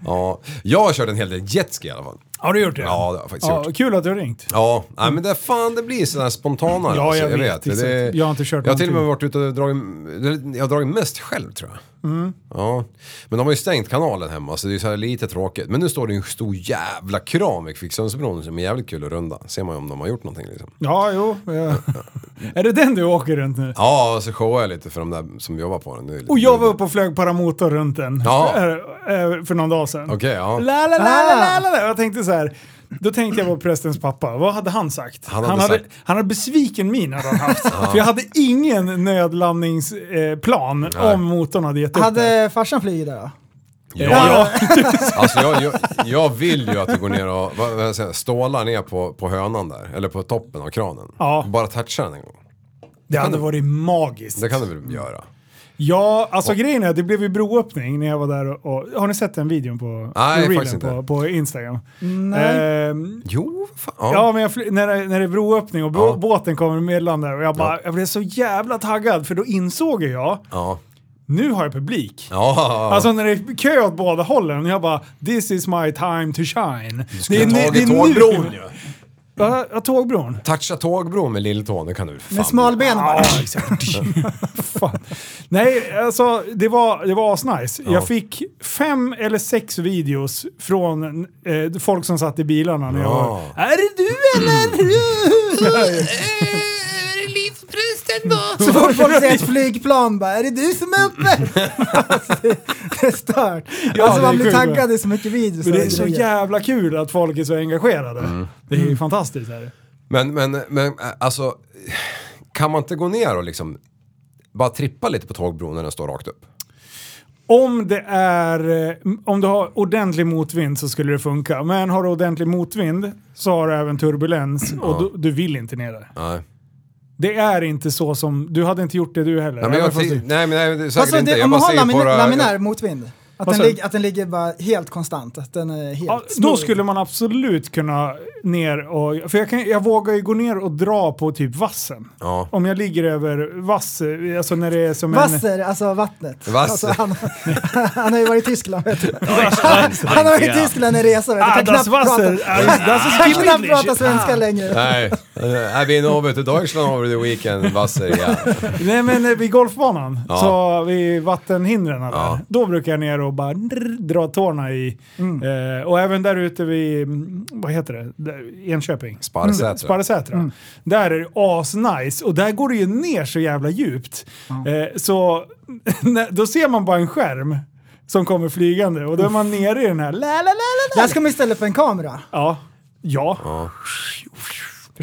Ja, jag har kört en hel del jetski i alla fall. Har du gjort det? Ja, det har jag faktiskt Ja, gjort. kul att du har ringt. Ja, nej, men det är fan det blir sådana här spontanare. Ja, jag alltså, vet, det. exakt. Det, Jag har inte kört Jag har till och med någonting. varit ute och dragit, jag har dragit mest själv tror jag. Mm. Ja. Men de har ju stängt kanalen hemma så det är så här lite tråkigt. Men nu står det ju en stor jävla kran vid Kvicksundsbron som är jävligt kul att runda. Ser man ju om de har gjort någonting liksom. Ja, jo. jag- är det den du åker runt nu? Ja, och så showar jag lite för de där som jobbar på den. Det är lite Och jag var kul. uppe och flög paramotor runt den Ja. Äh, äh, för någon dag sedan. Okej, Ah! ja. La, la, la, la, la, la. Jag tänkte så här. Då tänkte jag på prästens pappa. Vad hade han sagt? Han hade sagt- han hade besviken min hade han haft. För jag hade ingen nödlandningsplan om motorn hade gett upp. den. Hade farsan flugit där då? Ja, alltså jag, jag, jag vill ju att du går ner och vad, vad jag säger, stålar ner på, på hönan där, eller på toppen av kranen. Ja. Bara toucha den en gång. Det hade du- varit magiskt. Det kan du väl göra? Ja, alltså grejen är att det blev ju broöppning när jag var där och, och Har ni sett den videon på, Nej, reelen faktiskt inte. på, på Instagram? Nej. Jo, fan. ja, men jag, fly- när, det- när det är broöppning och bro, Ja. båten kommer emellan där och jag bara, jag blev så jävla taggad för då insåg jag Ja. nu har jag publik. Ja, Alltså när det är kö åt båda hållen, jag bara “This is my time to shine”. Det det är, nu- är, det är nu- tågbron ju. Ja, ja, tågbron. Toucha tågbron med lilltån, det kan du fan Med smalben bara. Ja, exakt. Fan. Nej, alltså det var, det var asnice. Ja. Jag fick fem eller sex videos från eh, folk som satt i bilarna när jag Ja. Mm. var... Är det du eller? Så fort folk ser ett flygplan bara, är det du som är uppe? Alltså, det- det är stört. Ja, alltså, det är man blir sjukt. taggad i så mycket videos. Men det och är så grejer. jävla kul att folk är så engagerade. Mm. Det är ju fantastiskt. Här. Men, men, men äh, alltså, kan man inte gå ner och liksom bara trippa lite på tågbron när den står rakt upp? Om det är... eh, Om du har ordentlig motvind så skulle det funka. Men har du ordentlig motvind så har du även turbulens Mm. och du, du vill inte ner där. Nej. Det är inte så som... Du hade inte gjort det du heller. Nej men även jag, fast ti- du- nej, men nej, det är säkert Alltså, inte. det, Jag om man bara har säger lamin på laminär motvind, Vad att sa den, du? ligger- att den ligger bara helt konstant, att den är helt Ja, då smooth. skulle man absolut kunna ner och... För jag, kan, jag vågar ju gå ner och dra på typ vassen. Ja. Om jag ligger över vass, alltså när det är som en... Vasser, alltså vattnet. Vasser. Alltså, han, han har ju varit i Tyskland vet du. Han, han har varit i Tyskland en resa vet du. Ah, Kan das knappt prata, Wasser! ah, Das ist kan knappt English. prata svenska längre. Nej, eh, I've been over to Deutschland over the weekend, Wasser. Ja. Nej men eh, vid golfbanan, så vid vattenhindren där, Ja. då brukar jag ner och bara drr, dra tårna i. Eh, och även där ute vid, mm, vad heter det, där, Enköping? Sparresätra. Sparresätra. Där är det asnice och där går det ju ner så jävla djupt. Eh, så när- då ser man bara en skärm som kommer flygande och då är man nere i den här la la la la la. Där ska man istället för en kamera. Ja. Ja. Man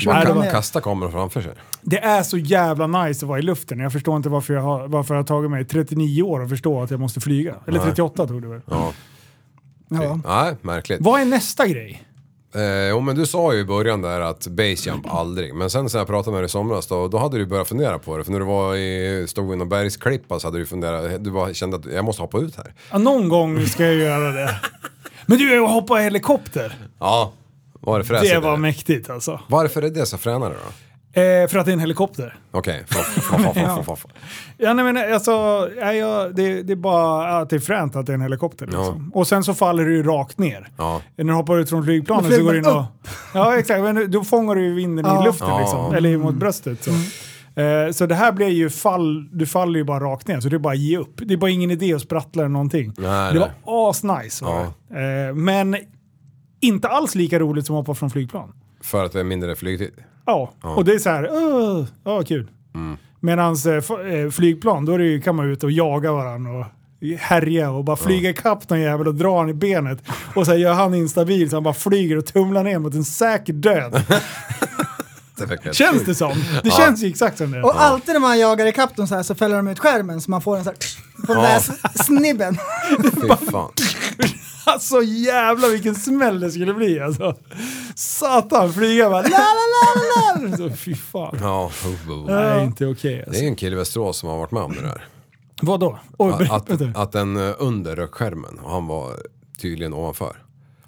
Nej, det kan var- kasta kameran framför sig. Det är så jävla nice att vara i luften. Jag förstår inte varför jag har, varför jag har tagit mig 39 år att förstå att jag måste flyga. Eller 38 tog det väl. Ja. Ja. Nej, märkligt. Vad är nästa grej? Eh, jo, men du sa ju i början där att basejump aldrig. Men sen när jag pratade med dig i somras då, då hade du börjat fundera på det. För när du var i, stod i någon bergsklippa så hade du funderat. Du bara kände att jag måste hoppa ut här. Ja, någon gång ska jag göra det. Men du, jag hoppar helikopter. Ja, var det fräsigt? Det var eller? mäktigt alltså. Varför är det så fränare då? Eh, för att det är en helikopter. Okej. Foff, foff, foff, foff, foff. Ja, nej, men alltså, nej, jag, det, det är bara att det är fränt att det är en helikopter. Liksom. Och sen så faller du ju rakt ner. Ja. När du hoppar ut från flygplanet Då så går du flyger in man och... Ja, exakt. Men då fångar du ju vinden i Ja. Mm. luften Ja. liksom. Eller mot bröstet. Så. Eh, så det här blir ju fall... Du faller ju bara rakt ner. Så det är bara att ge upp. Det är bara ingen idé att sprattla eller någonting. Nej, det nej. var asnice. var det. Eh, men inte alls lika roligt som att hoppa från flygplan. För att det är mindre flygtid. Ja, och det är så här, "Åh, ja kul. Mm. Medan eh, flygplan, då är det ju, kan man ut och jaga varandra och härja och bara flyga ikapp någon jävel och dra han i benet. Och så här gör han instabil så han bara flyger och tumlar ner mot en säker död. Det fick jag- Känns det som? Det känns ju exakt som det. Och alltid när man jagar i dem så här så fäller de ut skärmen så man får en så här på den där s- snibben. Fy fan. Alltså jävlar vilken smäll det skulle bli alltså. Satan, flyga bara la la la la la. Så, Fy fan. Ja. Nej, inte okej Det alltså. är ju en kille i Västerås som har varit med om det där. Vadå? Oj, berätta. Att, vänta. att den eh, under rök skärmen och han var tydligen ovanför.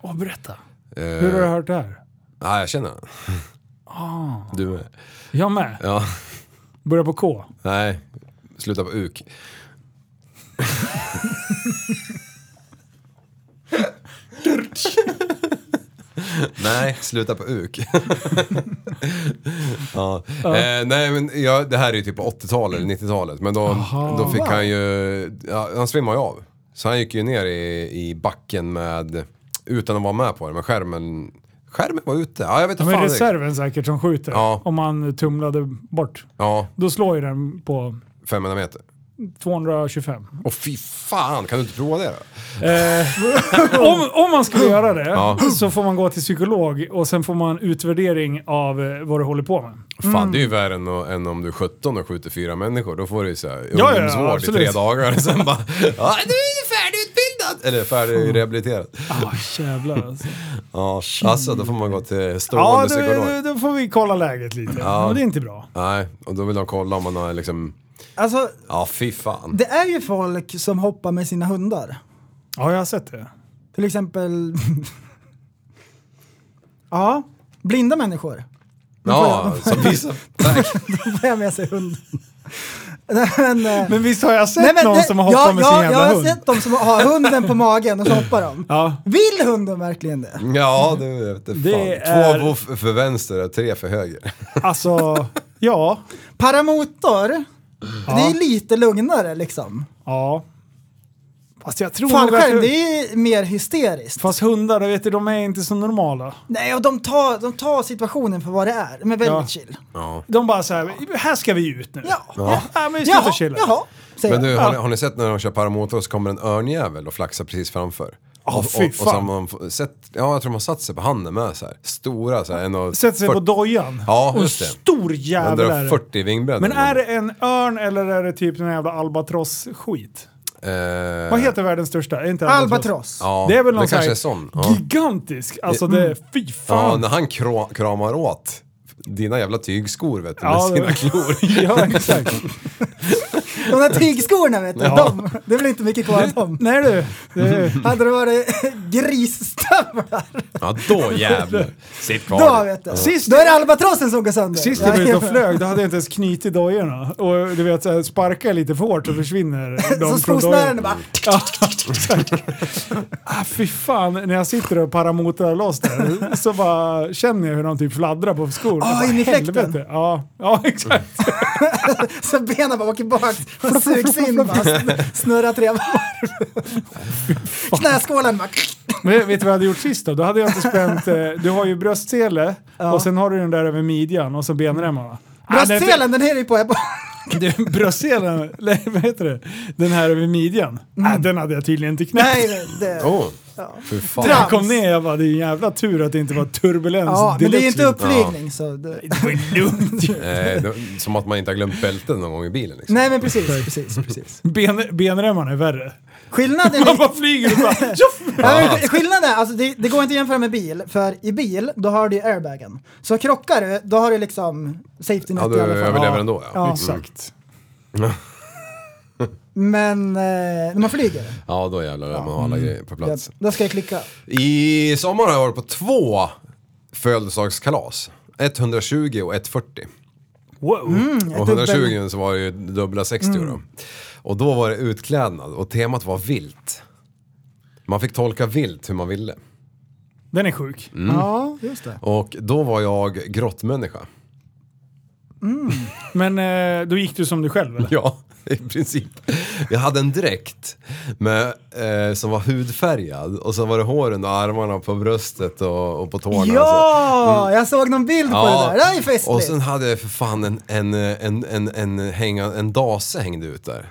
Åh, berätta. Eh, Hur har du hört det här? Nej, jag känner honom. Ah. Du med. Jag med. Ja. Börja på K. Nej, sluta på uk. nej, sluta på uk. ja. eh, nej, men jag, det här är ju typ på 80-talet eller 90-talet. Men då, då fick han ju, ja, han svimmade ju av. Så han gick ju ner i, i backen med, utan att vara med på det, men skärmen, skärmen var ute. Ja, jag vet inte Men fan. reserven säkert som skjuter. Ja. Om man tumlade bort. Ja, Då slår ju den på 500 meter. 225. Åh fy fan, kan du inte prova det då? Eh, om, om man skulle göra det Ja. så får man gå till psykolog och sen får man utvärdering av eh, vad du håller på med. Fan det är ju värre än, att- än om du är 17 och skjuter fyra människor. Då får du ju såhär ja, ungdomsvård i absolut. tre dagar och sen bara ja, du är färdigutbildad! Eller färdigrehabiliterad. Ah, jävlar alltså. Ja, alltså då får man gå till Ja, stående då, psykolog. då- då får vi kolla läget lite. Men det är inte bra. Nej, och då vill de kolla om man har liksom, Alltså, ja fy fan. det är ju folk som hoppar med sina hundar. Ja, jag har sett det. Till exempel... ja, blinda människor. Ja, så vissa, Får jag med sig hund. men, eh, Men visst har jag sett nej, men någon det- som har hoppat ja, med ja, sin jävla jag hund? Jag har sett de som har hunden på magen och så hoppar de. Ja. Vill hunden verkligen det? Ja, det vet jag Det fan. är- Två voff för vänster och tre för höger. Alltså, ja. Paramotor, det är lite lugnare liksom. Ja. Fast jag tror nog Fallskärm, att... det är mer hysteriskt. Fast hundar, då vet du, de är inte så normala. Nej, och de tar, de tar situationen för vad det är. De är väldigt Ja. chill. De bara så här, här ska vi ut nu. Ja, Ja, men vi ska ut jaha, och chilla. jaha, säger Men jag. du, har, ni, har ni sett när de kör paramotor och så kommer en örnjävel och flaxar precis framför? Ja, och, fy och, och så fan. har man f- sett, ja jag tror man satt sig på handen med så här. Stora så här, en och Sätter sig på 40 dojan. Ja, och en just det. stor Den jävel är drar det. 40 i vingbredd. Men är det en örn eller är det typ den här jävla albatross-skit? Eh, Vad heter världens största? Är inte Albatross. Ja, Det är väl någon kanske så här är sån. Ja. Mm. gigantisk. Alltså det är, fy ja, fan. när han kra- kramar åt dina jävla tygskor vet du, med Ja, det- sina klor. ja exakt. De där tygskorna vet du, Ja. de, det blir inte mycket kvar av dem. Nej du. Det är, Hade det varit grisstövlar, Ja, då jävlar. Sitt kvar. då vet du. Sist- Då är det albatrossen som går sönder. Sist jag var ute och flög då hade jag inte ens knutit dojorna. Och du vet, så här, sparkar jag lite för hårt så försvinner de Så från skosnören dojorna. bara... Ja, exakt. ah, fy fan, när jag sitter och paramotar loss där så bara känner jag hur de typ fladdrar på skor. Ah, Jag bara, in i fläkten. "Helvete." Ja, ja exakt. Så benen bara åker bak och sugs in bara. sn- Snurrar tre varv. Knäskålen bara... Men vet du vad jag hade gjort sist då? Då hade jag inte spänt... Eh, du har ju bröstsele och sen har du den där över midjan och så benremmarna. Ah, den- Bröstselen den hänger ju på. Jag bara, Du, Bröstselen, eller vad heter det? Den här över midjan. Ah, den hade jag tydligen inte knäckt. Mm. nej, det, det. Åh, fy fan. Tra- Jag kom ner jag bara, det är en jävla tur att det inte var turbulens. Ja, men det är ju deluxe. inte uppflygning så... Det. Nej, Eh, det, som att man inte har glömt bältet någon gång i bilen liksom. Nej men precis, precis, Mm. precis. Ben, benremmarna är värre. Skillnaden Man är... bara flyger och bara tjoff! Ja, men sk- skillnaden är, alltså det, det går inte att jämföra med bil, för i bil då har du ju airbagen. Så krockar du, då har du liksom safety net Ja, du i alla fall. överlever ändå ja. Ja. Exakt. Men eh, när man flyger, Ja, då jävlar är man har alla grejer på plats. då ska jag klicka. Mm. I sommar har jag varit på två födelsedagskalas. 120 och 140. Wow. Mm. Och 120 så var det ju dubbla 60 då. Och då var det utklädnad och temat var vilt. Man fick tolka vilt hur man ville. Den är sjuk. Ja, just det. Och då var jag grottmänniska. Men eh, då gick du som du själv eller? Ja, i princip. Jag hade en dräkt med, eh, som var hudfärgad och så var det håren och armarna på bröstet och, och på tårna. och så. Ja, jag såg någon bild på det där. Det här är festligt. alltså. Och sen hade jag för fan en, en, en, en, en, hänga, en dase hängde ut där.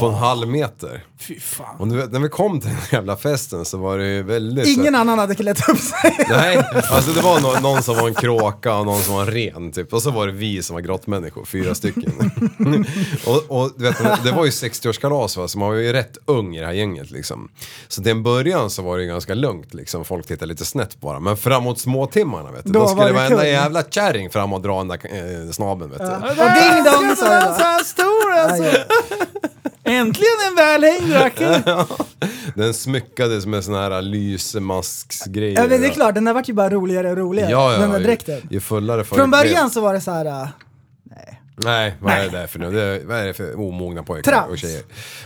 På en halv meter. Fy fan. Och du vet, när vi kom till den jävla festen så var det ju väldigt... Ingen annan hade klätt upp sig. Nej, alltså det var någon, någon som var en kråka och någon som var en ren typ. Och så var det vi som var grottmänniskor, fyra stycken. och, och du vet, det var ju 60-årskalas va, så man var ju rätt ung i det här gänget liksom. Så till en början så var det ju ganska lugnt liksom, folk tittade lite snett bara. Men framåt småtimmarna vet du, Då då, var skulle det varenda kul. jävla kärring fram och dra den där eh, snabeln vet du. Och ding dong sa jag då. stor alltså! Äntligen en välhängd rackare! Den smyckades med såna här lysmasksgrejer. Ja men det är klart, den där vart ju bara roligare och roligare. Ja, ja, den där ju- dräkten. Ju fullare folk Från blev. början så var det så här. äh, Nej, vad är det där för nu? Det, vad är det för omogna pojkar Trams. och tjejer?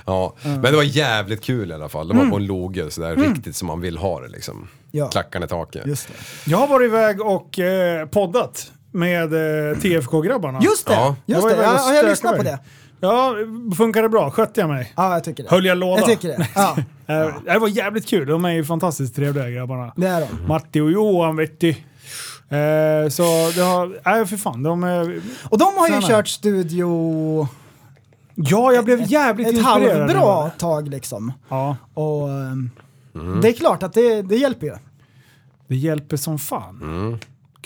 Ja, men det var jävligt kul i alla fall. Det var på en loge sådär Mm. riktigt som man vill ha det liksom. Ja. Klackarna i taket. Just det. Jag har varit iväg och eh, poddat med eh, TFK-grabbarna. Just det, Ja. just det. var iväg och Ja, jag stökade lyssnade på iväg. det. Ja, funkade det bra? Skötte jag mig? Ja, jag tycker det. Höll jag låda? Jag tycker det. Ja, Eh, Det var jävligt kul. De är ju fantastiskt trevliga grabbarna. det är de. Matti och Johan vet du. Eh, så det har... Nej, för fan. De är... Och de har ju Tränare. kört studio Ja, jag blev jävligt ett inspirerad. halvbra tag liksom. Ja, Och ehm, Mm. det är klart att det, det hjälper Eh. ju. det hjälper som fan.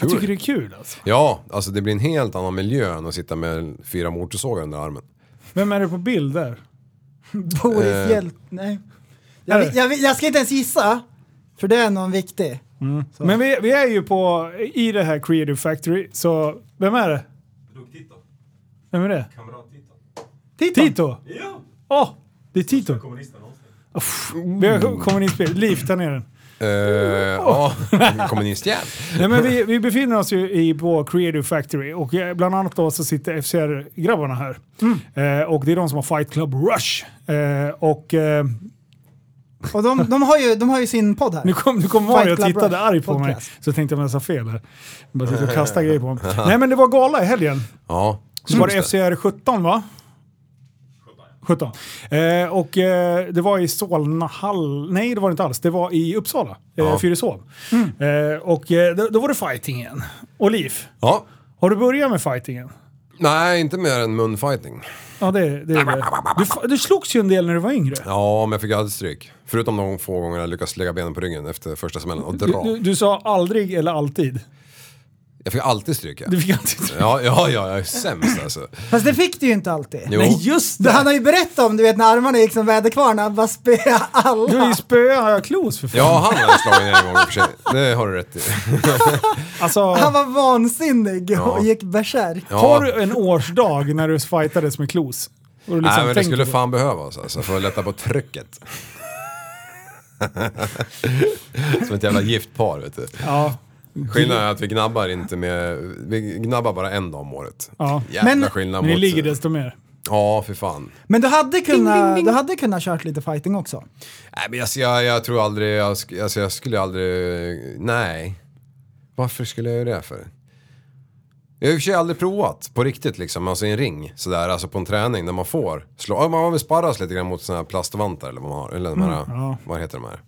Jag tycker det är kul alltså. Ja, alltså det blir en helt annan miljö än att sitta med fyra motorsågar under armen. Vem är det på bild där? Boris Eh. Hjält... Nej. Jag, vet- jag, vet- jag ska inte ens gissa, för det är någon viktig. Men vi, vi är ju på, i det här Creative Factory, så vem är det? Vem är det? Titta! Tito? Ja! Åh! det är Tito. Uff, Vi har kommunistbil. Liv, ta ner den. Eh, Oh. Ja, kommunistjävel. Nej, men vi, vi befinner oss ju i, på Creative Factory och eh, bland annat då så sitter FCR-grabbarna här. Mm. Eh, och det är de som har Fight Club Rush. Eh, och eh, Och de, de, har ju, de har ju sin podd här. nu kom, nu kom Fight Mario och Club tittade Rush arg på mig. podcast. Så tänkte jag om jag sa fel här. Bara sitter och kastar grejer på mig. Nej men det var gala i helgen. Ja. Så var det E FCR 17 va? 17. Eh, och eh, det var i Solna hall. Nej, det var det inte alls. Det var i Uppsala, eh, Ja. Mm. Fyrishov. Eh, och eh, då, då var det fighting igen. Och liv. Ja. Har du börjat med fightingen? Nej, inte mer än munfighting. Ja, det, det är det. Du, fa- du slogs ju en del när du var yngre. Ja, men jag fick aldrig stryk. Förutom de få gånger jag lyckades lägga benen på ryggen efter första smällen och Du, dra. du, du sa aldrig eller alltid. Jag fick alltid stryk. Ja, Du fick alltid... ja, ja, ja jag är sämst alltså. Fast det fick du ju inte alltid. Jo. Nej, just Du, det! han har ju berättat om du vet när armarna gick som väderkvarnar, han bara spöade Du alla. är ju spö, har jag klos för fan. Ja, han har jag slagit en gång i och för sig. Det har du rätt i. Liksom Alltså, Han var vansinnig Ja. och gick bärsärk. Ja. har du en årsdag när du fightades med klos? Och du liksom Nej, men det tänker skulle på- fan behövas alltså, för att lätta på trycket. Som ett jävla gift par, vet du. Ja. Skillnaden är att vi gnabbar inte med... Vi gnabbar bara en dag om året. Ja. Jävla Men- skillnad Men det mot... ligger desto mer. Ja, för fan. Men du hade kunnat, du hade kunnat kört lite fighting också. Nej, men alltså, jag, jag tror aldrig... Jag, sk- alltså, jag skulle aldrig... Nej. Varför skulle jag göra det för? Jag har i och för sig aldrig provat på riktigt liksom, alltså i en ring sådär, alltså på en träning när man får slå. Ja, man har väl sparras lite grann mot sådana här plastvantar eller vad man har, eller de här, Mm, ja. vad heter de här?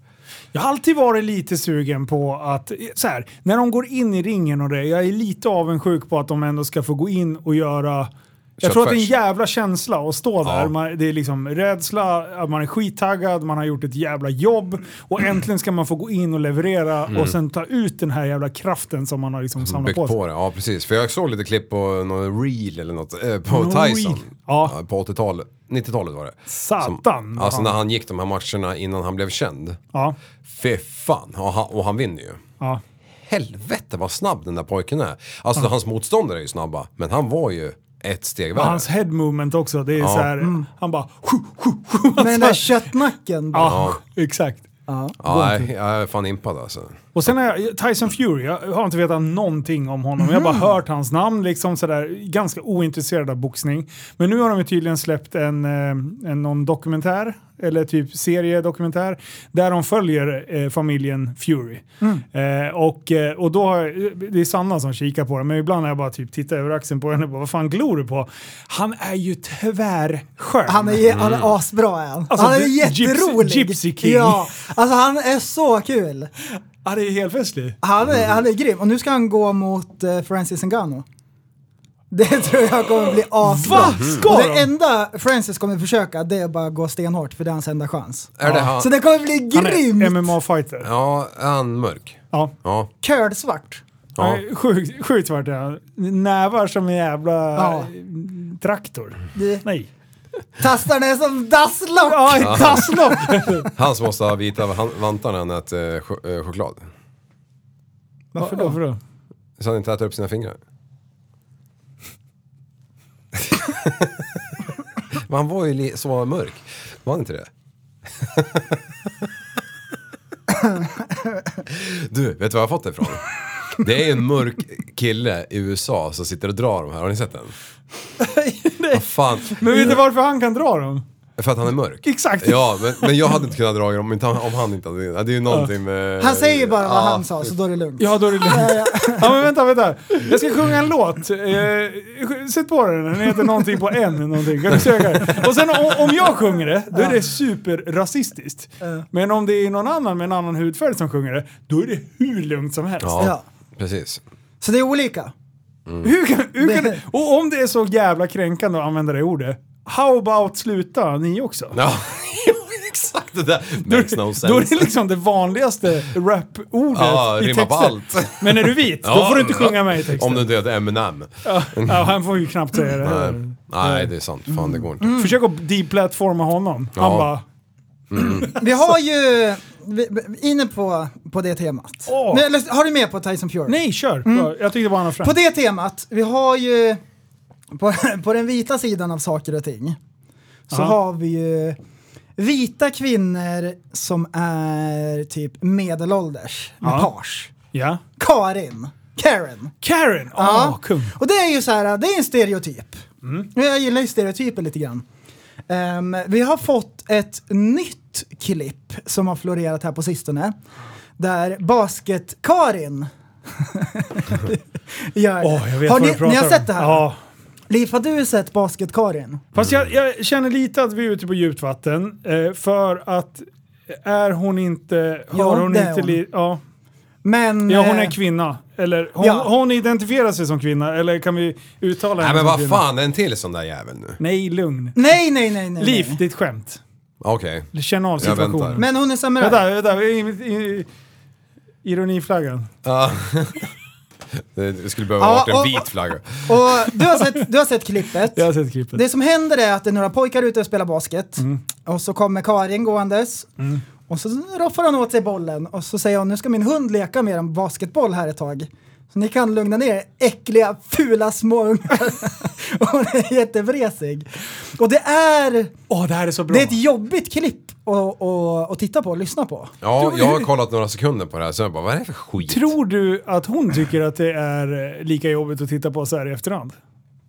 Jag har alltid varit lite sugen på att, så här, när de går in i ringen och det, jag är lite avundsjuk på att de ändå ska få gå in och göra jag tror att det är en Köttfärs. jävla känsla att stå där. Ja. Man, det är liksom rädsla, att man är skittaggad, man har gjort ett jävla jobb och äntligen ska man få gå in och leverera och sen ta ut den här jävla kraften som man har liksom samlat Byggt på sig. på det, ja precis. För jag såg lite klipp på någon reel eller något, eh, på Någon Tyson. reel, ja. På 80-talet, 90-talet var det. Satan, Som, vad alltså han- när han gick de här matcherna innan han blev känd. Ja, Fy fan, och han, och han vinner ju. ja. Helvete vad snabb den där pojken är. Alltså hans motståndare är ju snabba, men han var ju ett steg värre. Hans head movement också, det är så här, han bara... Med den där köttnacken. bara. ja, exakt. Ja, jag, jag är fan impad alltså. Och sen är jag, Tyson Fury, jag har inte vetat någonting om honom. Jag har Mhm. bara hört hans namn, liksom sådär, ganska ointresserad av boxning. Men nu har de ju tydligen släppt en, eh, en någon dokumentär, eller typ seriedokumentär, där de följer eh, familjen Fury. Mm. Eh, och, eh, och då har jag, det är Sanna som kikar på det, men ibland har jag bara typ tittat över axeln på henne och bara vad fan glor du på? Han är ju tvärskön. Han är, ju- han Mm. är asbra är han. Alltså, han är det- jätterolig. Gypsy- Gypsy King. Ja, alltså han är så kul. Ja, det är helt festlig. Han är, han är grym. Och nu ska han gå mot eh, Francis Ngannou. Det tror jag kommer bli asbra. Va? Ska Och de? det enda Francis kommer försöka det är bara att gå stenhårt för det är hans enda chans. Är det han? Så det kommer bli Han är grymt! MMA-fighter. Ja, är han mörk? Ja. Ja. Kölsvart. ja. Nej, Eh, Sjukt, sjukt vart det är. Nävar som en jävla eh, Ja. traktor. Det- Nej. Tastarna är som dasslock! Ja, ett dasslock! Han som måste ha vita han- vantar när han äter eh, ch- eh, choklad. Varför då? Varför då? Så han inte äter upp sina fingrar. Men han var ju li- så mörk. Var han inte det? du, vet du var jag har fått det ifrån? Det är en mörk kille i USA som sitter och drar de här. Har ni sett den? Vad fan? Men vet du varför han kan dra dem? För att han är mörk? Exakt. Ja, men, men jag hade inte kunnat dra i dem om, inte han- om han inte hade... Det är ju någonting med... Han säger ju bara vad Ja. han sa så då är det lugnt. Ja, då är det lugnt. Ja, men vänta, vänta. Jag ska sjunga en låt. Eh, sj- sätt på den. Den heter någonting på N. Någonting. Kan du söka det? Och sen o- om jag sjunger det, då är det superrasistiskt. Men om det är någon annan med en annan hudfärg som sjunger det, då är det hur lugnt som helst. Ja, Ja. precis. Så det är olika. Hur kan, hur kan, Det- och om det är så jävla kränkande att använda det ordet, how about sluta ni också? Ja, exakt det där. Makes no sense. Då är det liksom det vanligaste rap-ordet i Ja, rimma texten. på allt. Men är du vit, då Ja, får du inte sjunga med i texten. Om du inte heter Eminem. Ja, Mm. han får ju knappt säga det Nej. heller. Nej, det är sant. Fan, det går inte. Försök att deplatforma honom. Han Ja. bara, Vi har ju, vi, vi- inne på, på det temat. Åh. Men, eller, har du med på Tyson Fury? nej kör. Mm. Jag tyckte bara han var främ. På det temat, vi har ju på, på den vita sidan av saker och ting så Ja. har vi ju vita kvinnor som är typ medelålders med Ja. page. Ja. Karin. Karen. Karen! Åh, Ja. kung. Och det är ju så här, det är en stereotyp. Mm. Jag gillar ju stereotyper lite grann. Ehm, vi har fått ett nytt klipp som har florerat här på sistone. Där Basket-Karin gör det. Åh, jag vet har vad du ni, pratar ni har om. sett det här? Ja. Liv, har du sett Basket-Karin? Fast jag, jag känner lite att vi är ute på djupt vatten. Eh, för att är hon inte... Har Jo, hon det är inte... hon. Li, ja. Men, ja, hon eh, är kvinna. Eller hon, Ja. hon identifierar sig som kvinna. Eller kan vi uttala Nej henne men som vad kvinna? fan, en till sån där jävel nu. Nej, lugn. Nej, nej, nej, nej. Liv, nej. ditt skämt. Okej. Känn av Jag väntar. situationen. Men hon är samuraj. Vänta, vänta. i- i- Ironiflaggan. Ja. Det skulle behöva Ja, varit en och- vit flagga. Och du har sett, du har sett klippet. Jag har sett klippet. Det som händer är att det är några pojkar ute och spelar basket. Och så kommer Karin gåendes. Och så roffar hon åt sig bollen och så säger hon nu ska min hund leka med en basketboll här ett tag. Så ni kan lugna ner er, äckliga, fula små ungar. och hon är jättevresig. Och det är, Åh, det här är så bra. det är ett jobbigt klipp att, att, att titta på och lyssna på. Ja, jag har kollat några sekunder på det här så jag bara, vad är det för skit? Tror du att hon tycker att det är eh, lika jobbigt att titta på så här i efterhand?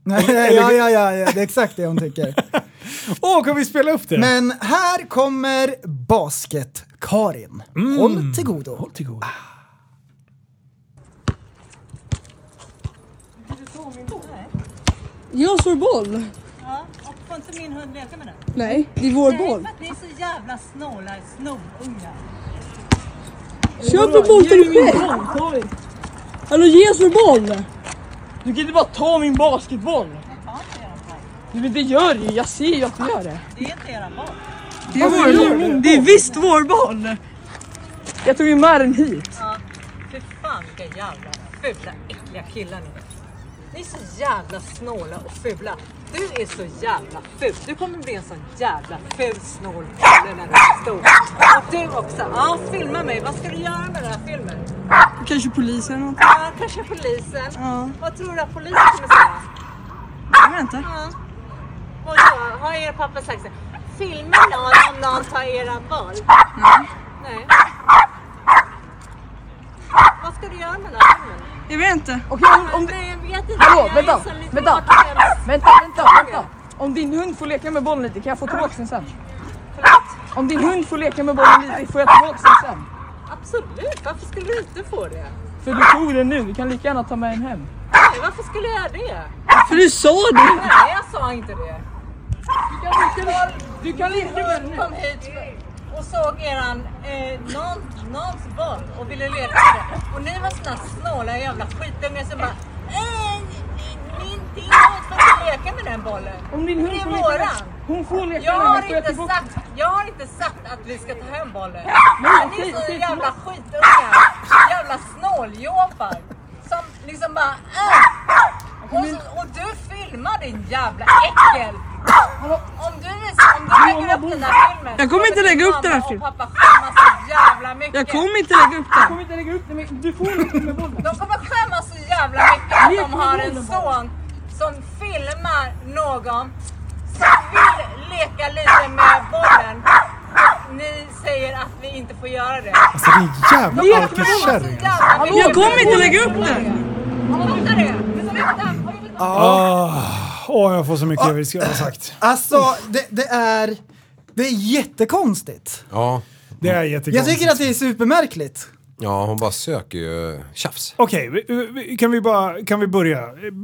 ja, ja, ja, ja, det är exakt det hon tycker. Åh, kan vi spela upp det? Men här kommer Basket-Karin. Håll till godo. Håll till godo. Jag slår boll. Ja, och får inte min hund leka med den? Nej, det är vår boll. Ni är så jävla snåla snorungar. Köp en boll till dig själv. Hallå, ge oss vår boll. Du kan inte bara ta min basketboll. Nej, men det gör du Jag ser ju att du gör det. Det är inte era barn. Det är vår boll. Det är visst vår boll! Jag tog ju med den hit. Fy fan vilka jävla fula äckliga killar ni är. Ni är så jävla snåla och fula. Du är så jävla ful. Du kommer bli en sån jävla ful snål ful när du är stor. Och du också. Ja, filma mig. Vad ska du göra med den här filmen? Kanske polisen eller något. Ja, kanske polisen. Vad tror du att polisen kommer säga? Jag vet inte. Ja. Och då har er pappa sagt så här, filma någon om någon tar era boll. Nej. Vad ska du göra med den här filmen? Jag vet inte. Om Nej, jag vet inte. Hallå, jag vänta, är så lite vänta. bakis. Vänta, vänta, vänta. Om din hund får leka med bollen lite kan jag få tillbaka den sen? Om din hund får leka med bollen lite får jag tillbaka den sen? Absolut, varför skulle du inte få det? För du tog den nu, du kan lika gärna ta med den hem. Nej, varför skulle jag göra det? För du sa det! Nej, jag sa inte det. Du kan leka med den nu. Kom hit och såg eran, eh, någon, någons boll och ville leka med det. Och ni var såna snåla jävla skitungar som bara "Eh, min din hund får inte leka med den bollen. Om din hund Det är får leka med våran. Hon får leka Jag med den har, får jag inte tillbaka den. sagt, jag har inte sagt att vi ska ta hem bollen. Nej, Ni är så okej, jävla skitungar. Jävla snåljåpar. Som liksom bara... Äh. Och, så, och du filmar din jävla äckel. Om du, vis- om du lägger upp den här filmen. Jag kommer inte lägga upp den här filmen. filmen. pappa skämmas så jävla mycket. inte lägga upp den. Jag kommer inte lägga upp den men du får leka med bollen. De kommer skämmas så jävla mycket att Lek de med har en bollen bara. son som filmar någon som vill leka lite med bollen. Ni säger att vi inte får göra det. Alltså det är jävla Lek med alkiskärring. alltså. Jag lägga upp den. Fattar det? Det är som utan- och jag vill bara- Åh, jag får så mycket jag vill ska ha sagt. Alltså, det, det är... Det är jättekonstigt. Ja. Det är Jag jättekonstigt. tycker att det är supermärkligt. ja, hon bara söker ju tjafs. Okej, vi- vi- kan vi bara kan vi börja?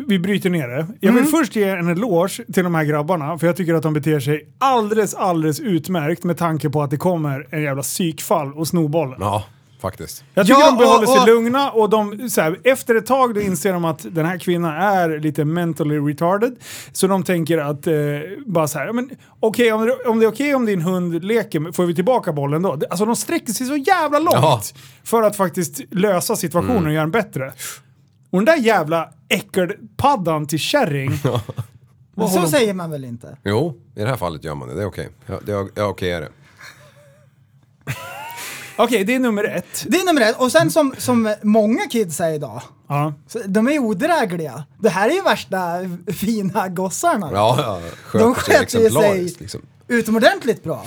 Vi bryter ner det. Jag vill först ge en eloge till de här grabbarna, för jag tycker att de beter sig alldeles, alldeles utmärkt med tanke på att det kommer en jävla psykfall och snobollen. Ja, faktiskt. Jag tycker Ja, de behåller och- sig och- lugna och de, så här, efter ett tag då inser de att den här kvinnan är lite mentally retarded. Så de tänker att eh, bara så här, "Ja, men okej om, det- om det är okej om din hund leker, med- får vi tillbaka bollen då? Det- Alltså de sträcker sig så jävla långt Ja. för att faktiskt lösa situationen Mm. och göra den bättre. Och den där jävla äckelpaddan till kärring. Så säger man väl inte? Jo, i det här fallet gör man det. Det är okej. Ja, det är, ja, okej är det. Okej, det är nummer ett. Det är nummer ett. Och sen som, som många kids är idag, Ja. så de är odrägliga. Det här är ju värsta fina gossarna. Ja, ja. De sköter sig sköter ju sig exemplariskt liksom. utomordentligt bra.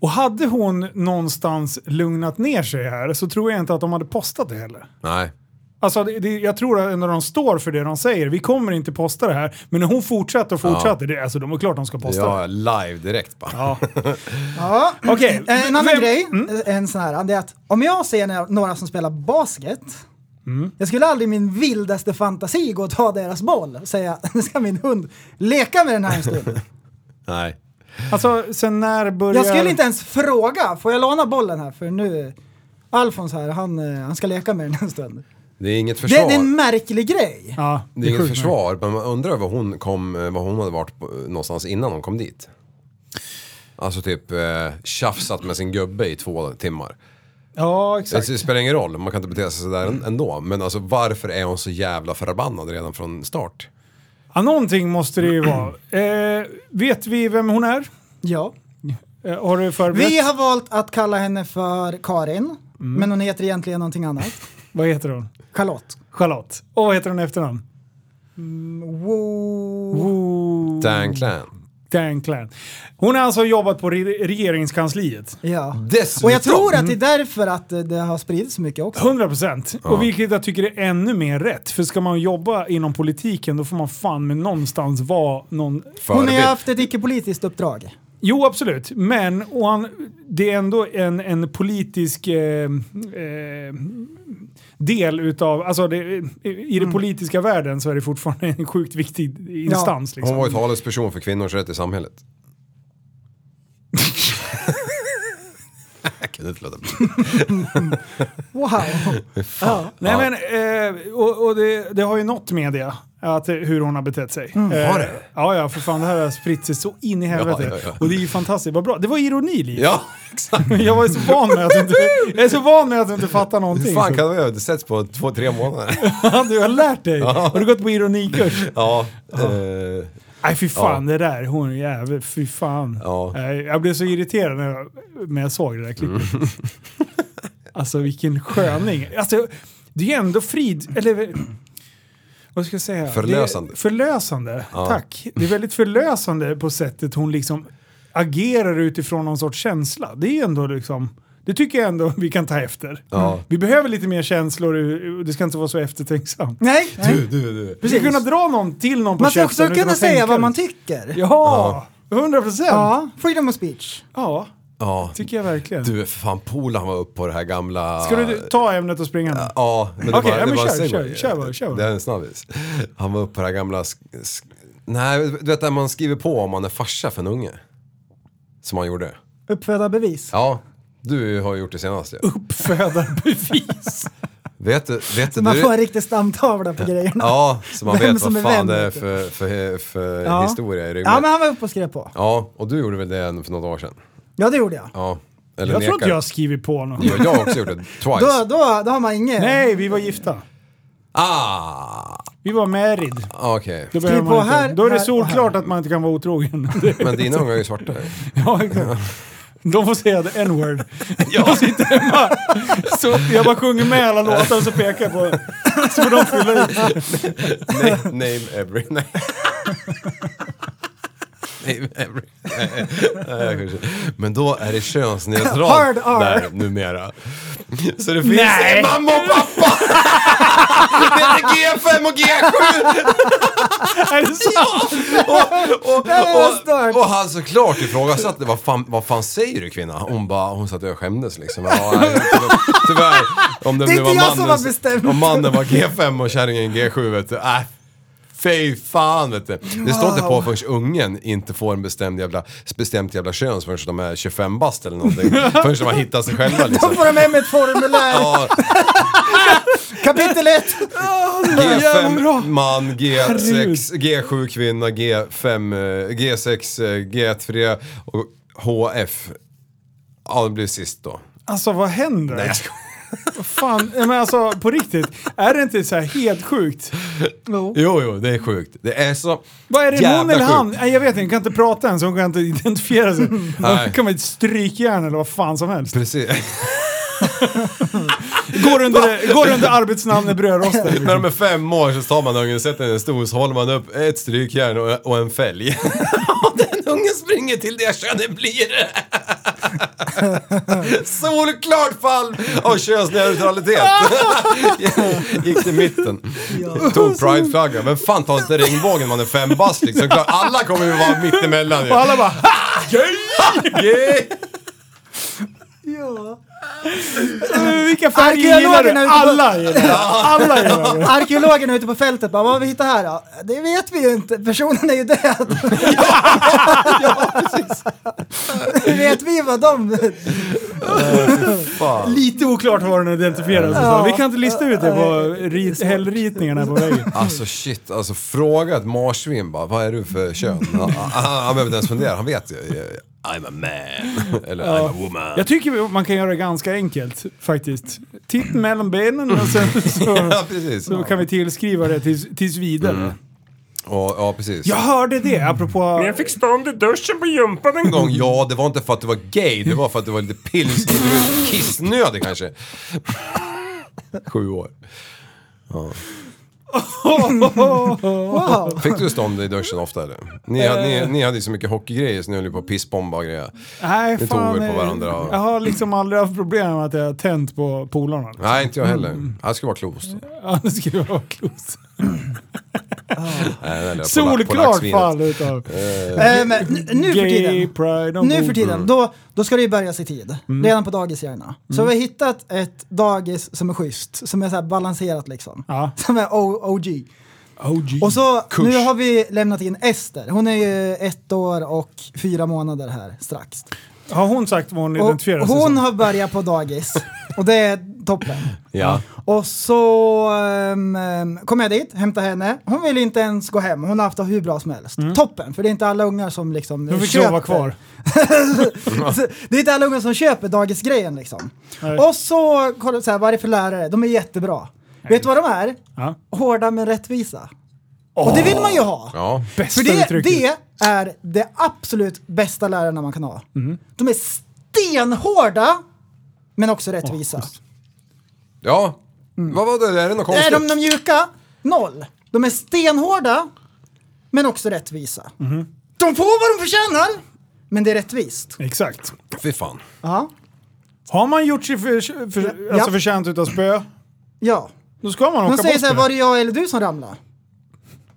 Och hade hon någonstans lugnat ner sig här så tror jag inte att de hade postat det heller. Nej. Alltså, det, det, jag tror att ändå de står för det de säger. Vi kommer inte posta det här. Men när hon fortsätter och fortsätter, det, alltså de är klart de ska posta det. Ja, live direkt bara. Ja. Ja. Okej, En annan vem- grej, eh, en sån här, det är att om jag ser nå- några som spelar basket, jag skulle aldrig i min vildaste fantasi gå och ta deras boll och säga nu ska min hund leka med den här en stund. Nej. Alltså, sen när börjar... Jag skulle inte ens fråga, får jag låna bollen här för nu, Alfons här, han, eh, han ska leka med den en stund. Det är inget Det, det försvar. är en märklig grej. Ja, Det är inget sjukt märkligt. försvar, men man undrar var hon, kom, eh, var hon hade varit på, någonstans innan hon kom dit. Alltså typ eh, tjafsat med sin gubbe i två timmar. Ja, Det exakt. spelar ingen roll, man kan inte bete sig sådär än- ändå. Men alltså varför är hon så jävla förbannad redan från start? Ja, någonting måste det ju vara. Eh, vet vi vem hon är? Ja. Eh, har du förberett? Vi har valt att kalla henne för Karin, men hon heter egentligen någonting annat. Vad heter hon? Charlotte. Charlotte. Och vad heter hon i efternamn? Wow. Woo Dan Clan. Dan Clan. Hon har alltså jobbat på re- regeringskansliet. Ja. Dessutom! Och jag tror att det är Mm. därför att eh, det har spridits så mycket också. 100 procent. Och vilket jag tycker är ännu mer rätt. För ska man jobba inom politiken då får man fan med någonstans vara någon... Hon har ju Förebild. haft ett icke-politiskt uppdrag. Jo, absolut. Men och han, det är ändå en, en politisk eh, eh, del utav... Alltså det, i Mm. den politiska världen så är det fortfarande en sjukt viktig instans. Hon Liksom. var ju talesperson för kvinnors rätt i samhället. jag kunde inte låta bli. Wow! ja. Nej, men, eh, och, och det, det har ju nått media. Att, eh, hur hon har betett sig. Eh, Mm, Har det? Ja, ja, för fan det här har spritt sig så in i helvete. ja, ja. Och det är ju fantastiskt, vad bra. Det var ironi Liv. Ja, exakt. Jag var ju så van med att du inte, jag är så van med att du inte fattar någonting. Hur fan kan det ha setts på två, tre månader? Du har lärt dig. Har du gått på ironikurs? ja. eh, Nej fy fan det där, hon är jävel, fy fan. Ja. Nej, Jag blev så irriterad när jag, när jag såg det där klippet. Mm. alltså vilken sköning. Alltså, det är ju ändå frid... Eller, vad ska jag säga? Förlösande. Det är förlösande, tack. Det är väldigt förlösande på sättet hon liksom agerar utifrån någon sorts känsla. Det är ju ändå liksom... Det tycker jag ändå vi kan ta efter. Ja. Vi behöver lite mer känslor, och det ska inte vara så eftertänksamt. Nej, nej. du, du, du. Vi ska kunna dra någon till någon på Man ska käften också utan kunna att säga tänka vad det. man tycker. Ja. Ja, hundra procent. Ja. freedom of speech. Ja. tycker jag verkligen. Du, för fan Polan var upp på det här gamla... Ska du ta ämnet och springa nu? Ja, men det Okej, var, ja, det men var en kör, segway. kör, kör bara, kör bara. Det är en snabbis. Han var upp på det här gamla... Sk- sk- nej, du vet när man skriver på om man är farsa för en unge. Som han gjorde. Uppföda bevis. Ja, du har ju gjort det senast ju. Födarbevis. Vet du... Vet du Man du- får en riktig stamtavla på grejerna. Ja, så man Vem vet som vad är fan vem, det är vet du. för, för, för Ja. historia i ryggen. Ja, men han var uppe och skrev på. ja, och du gjorde väl det för något år sedan? Ja, det gjorde jag. Ja. Eller Jag tror nekar. att jag har skrivit på någon. Ja, jag har också gjort det. Twice. Då, då, då har man inget. Nej, vi var gifta. Ah! Vi var married. Okej. Då, behöver på man inte. här, Då är det här och solklart att man inte kan vara otrogen. Men dina ungar är ju svarta. ju. ja, exakt. De får säga the n-word. De sitter hemma. Så jag bara sjunger med alla låtar och så pekar jag på... Så får de fylla ut. Nej, name every... Nej. name every... Nej, nej, kanske. Men då är det könsneutralt Hard R. där numera. Så det finns Nej. mamma och pappa! det är G5 och G7! Är det sant? Och, och, det var stört. och, och han såklart ifrågasatte, vad fan, vad fan säger du kvinna? Hon bara, hon satt och jag skämdes liksom. Ja, nej, tyvärr- tyvärr, om det, Det är nu inte jag som har så- bestämt. Om mannen var G5 och kärringen G7 vet du. Äh, fy fan vet du. Det står inte på förrän ungen inte får en bestämd jävla, bestämt jävla kön förrän de är 25 bast eller någonting. Förrän de har hittat sig själva Då liksom. får de hem ett formulär. Ja, Kapitel 1. G5 man, G6, G7 kvinna, G5, eh, G6, eh, G3 och HF. Ja, det blir sist då. Alltså vad händer? Nej, jag skojar. Fan, men alltså på riktigt. Är det inte så här helt sjukt? Jo, jo, det är sjukt. Det är så Vad är det, jävla hon eller han? sjukt. Nej, jag vet inte, hon kan inte prata än så hon kan inte identifiera sig. Hon Nej. kommer ett strykjärn eller vad fan som helst. Precis. Går under, går under arbetsnamnet brödrosten. När de är fem år så tar man ungen, sätter den i en stol, så håller man upp ett strykjärn och, och en fälg. Och den ungen springer till det könet blir. Solklart fall av könsneutralitet. Gick till mitten. Tog prideflaggan. Vem fan tar inte regnbågen när man är fem bast liksom? Klart, alla kommer ju vara mittemellan ju. Och alla bara ha! Yeah. Ja. Vilka färger gillar du? Arkeologerna ute på- Alla gillar det. Alla gillar det. Arkeologerna ute på fältet bara, vad har vi hittat här då? Det vet vi ju inte, personen är ju död. Hur vet vi vad de... Lite oklart var den identifierades ja. Vi kan inte lista ut det på rit, hällritningarna på väggen. Alltså shit, alltså fråga ett marsvin bara, vad är du för kön? Han, han, han behöver inte ens fundera, han vet ju. I'm a man. Eller I'm a woman. Jag tycker man kan göra det ganska enkelt faktiskt. Titt mellan benen och sen så, Ja, precis. så kan vi tillskriva det tills, tills vidare. Mm. Ja, ja, precis. Jag hörde det Mm. apropå... stånd i duschen på gympan en En gång, ja det var inte för att du var gay, det var för att du var lite pils... du var Kissnödig kanske. Sju år. Wow. Fick du stånd i duschen ofta eller? Ni, hade- ni, ni hade ju så mycket hockeygrejer så ni höll ju på att pissbomba och grejer. Nej, Ni fan, tog väl på eh, varandra och- Jag har liksom aldrig haft problem med att jag har tänt på polarna. Nej, inte jag heller. Jag skulle vara klost. Ja, det skulle vara klokt. Nej, eller polack- Solklart polacksvinet. fall utav Eh, men nu- nu för gay tiden. pride och Nu för tiden, då, då ska det ju börjas i tid. Mm. Redan på dagis gärna. Så vi har hittat ett dagis som är schysst, som är så här balanserat liksom. Ja. Som är O- OG. OG. Och så, Kush. nu har vi lämnat in Ester. Hon är ju ett år och fyra månader här strax. Har hon sagt vad hon Och identifierar sig hon som? har börjat på dagis och det är toppen. Ja. Och så ehm, ehm, kom jag dit, hämtade henne. Hon vill inte ens gå hem, hon har haft det hur bra som helst. Toppen, för det är inte alla ungar som liksom Mm. Hon fick köper- sova kvar. Så det är inte alla ungar som köper dagisgrejen liksom. Nej. Och så, kolla så här, vad är det för lärare? De är jättebra. Vet du vad de är? Ja. Hårda men rättvisa. Och det vill man ju ha. Ja. Bästa För det, uttrycket. det är det absolut bästa lärarna man kan ha. Mhm. De är stenhårda, men också rättvisa. Ja. Vad var det? Är det något är konstigt? de de mjuka? Noll. De är stenhårda, men också rättvisa. Mhm. De får vad de förtjänar, men det är rättvist. Exakt. Fy fan. Ja. Har man gjort sig för, för, Ja. alltså förtjänt utav spö, ja. då ska man De åka säger bort så här, med var det. det jag eller du som ramlade?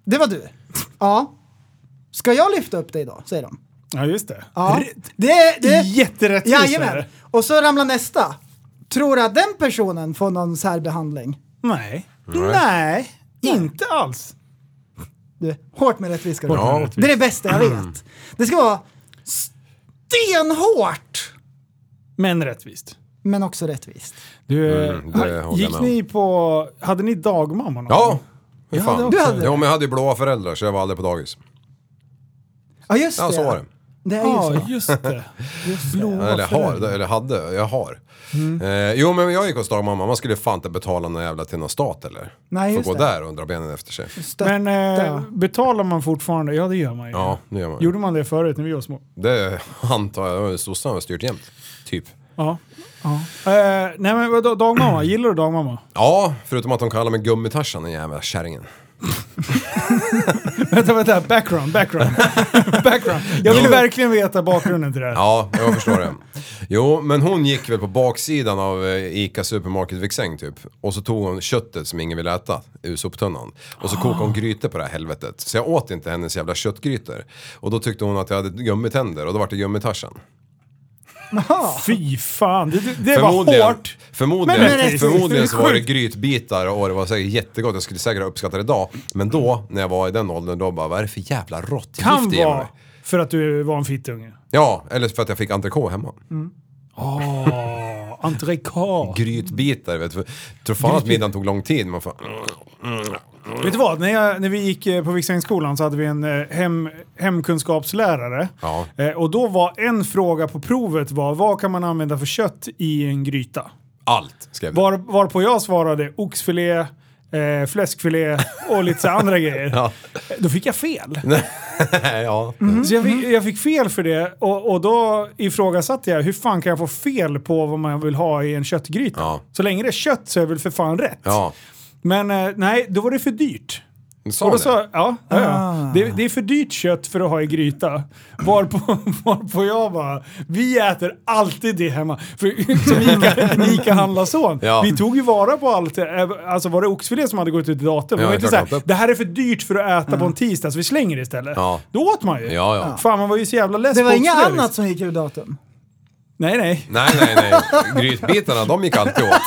Det var du. Ja. Ska jag lyfta upp dig då? Säger de. Ja, just det. Ja. Det, det, Jätterättvist är Jajamän. det. Och så ramlar nästa. Tror du att den personen får någon särbehandling? Nej. Nej. Inte alls. Du, hårt med rättvis ska du Hårt ha. med Mm. rättvis. Det är det bästa jag vet. Det ska vara stenhårt, Men rättvist. men också rättvist. Du, Mm, det ha- håller jag med gick om. ni på... Hade ni dagmamma någon Ja. gång? Fy Jag hade fan. också Du hade- Ja, men jag hade ju blåa föräldrar så jag var aldrig på dagis. Ja, just Ja, det. så var det. Det är Ja, ju så. just det. Blåa Eller har, föräldrar. eller hade, jag har. Mm. Eh, jo men jag gick hos dagmamma, man skulle fan inte betala någon jävla till någon stat eller? Nej, Får just gå det. där och dra benen efter sig. Men eh, Stötta. betalar man fortfarande? Ja, det gör man ju. Ja, det gör man. Gjorde man det förut när vi var små? Det antar jag, sossarna har styrt jämt. Typ. Ja. ja. Eh, nej men vadå, dagmamma? Gillar du dagmamma? Ja, förutom att de kallar mig gummitarsan den jävla kärringen. Vänta, vänta. Background, background. background. Jag vill Jo. verkligen veta bakgrunden till det här. Ja, jag förstår det. Jo, men hon gick väl på baksidan av eh, ICA Supermarket Viksäng typ. Och så tog hon köttet som ingen ville äta ur soptunnan. Och så kokade Ah. hon grytor på det här helvetet. Så jag åt inte hennes jävla köttgrytor. Och då tyckte hon att jag hade gummitänder och då vart det gummitarsan. Fy fan, det, det, det var Förmodligen, hårt. Förmodligen, Men det är rättvist, det är förmodligen så var det sjukt. grytbitar och det var säkert jättegott. Jag skulle säkert uppskatta det idag. Men då, när jag var i den åldern, då bara vad är det för jävla råttgift Kan i mig? vara för att du var en fittunge. Ja, eller för att jag fick entrecote hemma. Ah. Entrecote. Grytbitar, vet du. Jag tror fan att Grytbitar. middagen tog lång tid. Man får... Vet du vad? När, jag, när vi gick eh, på Viksängsskolan så hade vi en eh, hem, hemkunskapslärare. Ja. Eh, och då var en fråga på provet var vad kan man använda för kött i en gryta? Allt skrev det. Var, varpå jag svarade oxfilé, eh, fläskfilé och lite så här andra grejer. Ja. Då fick jag fel. ja. Så jag fick, jag fick fel för det och, och då ifrågasatte jag hur fan kan jag få fel på vad man vill ha i en köttgryta? Ja. Så länge det är kött så är det väl för fan rätt? ja. Men eh, nej, då var det för dyrt. Sa Och han då det? sa, ja, ja, Ah. ja. Det, det är för dyrt kött för att ha i gryta. Varpå, varpå jag bara, vi äter alltid det hemma. För, som Ica, Ica handlarson. Ja. Vi tog ju vara på allt. eh, Alltså var det oxfilé som hade gått ut i datum? det, Ja, var inte klart så inte. det här är för dyrt för att äta på en tisdag så vi slänger det istället. Ja. Då åt man ju. Ah. Ja, ja. Fan man var ju så jävla less Det var på inget oxfilé, annat liksom. som gick ur datum. Nej nej. Nej, nej, nej. Grytbitarna, de gick alltid åt.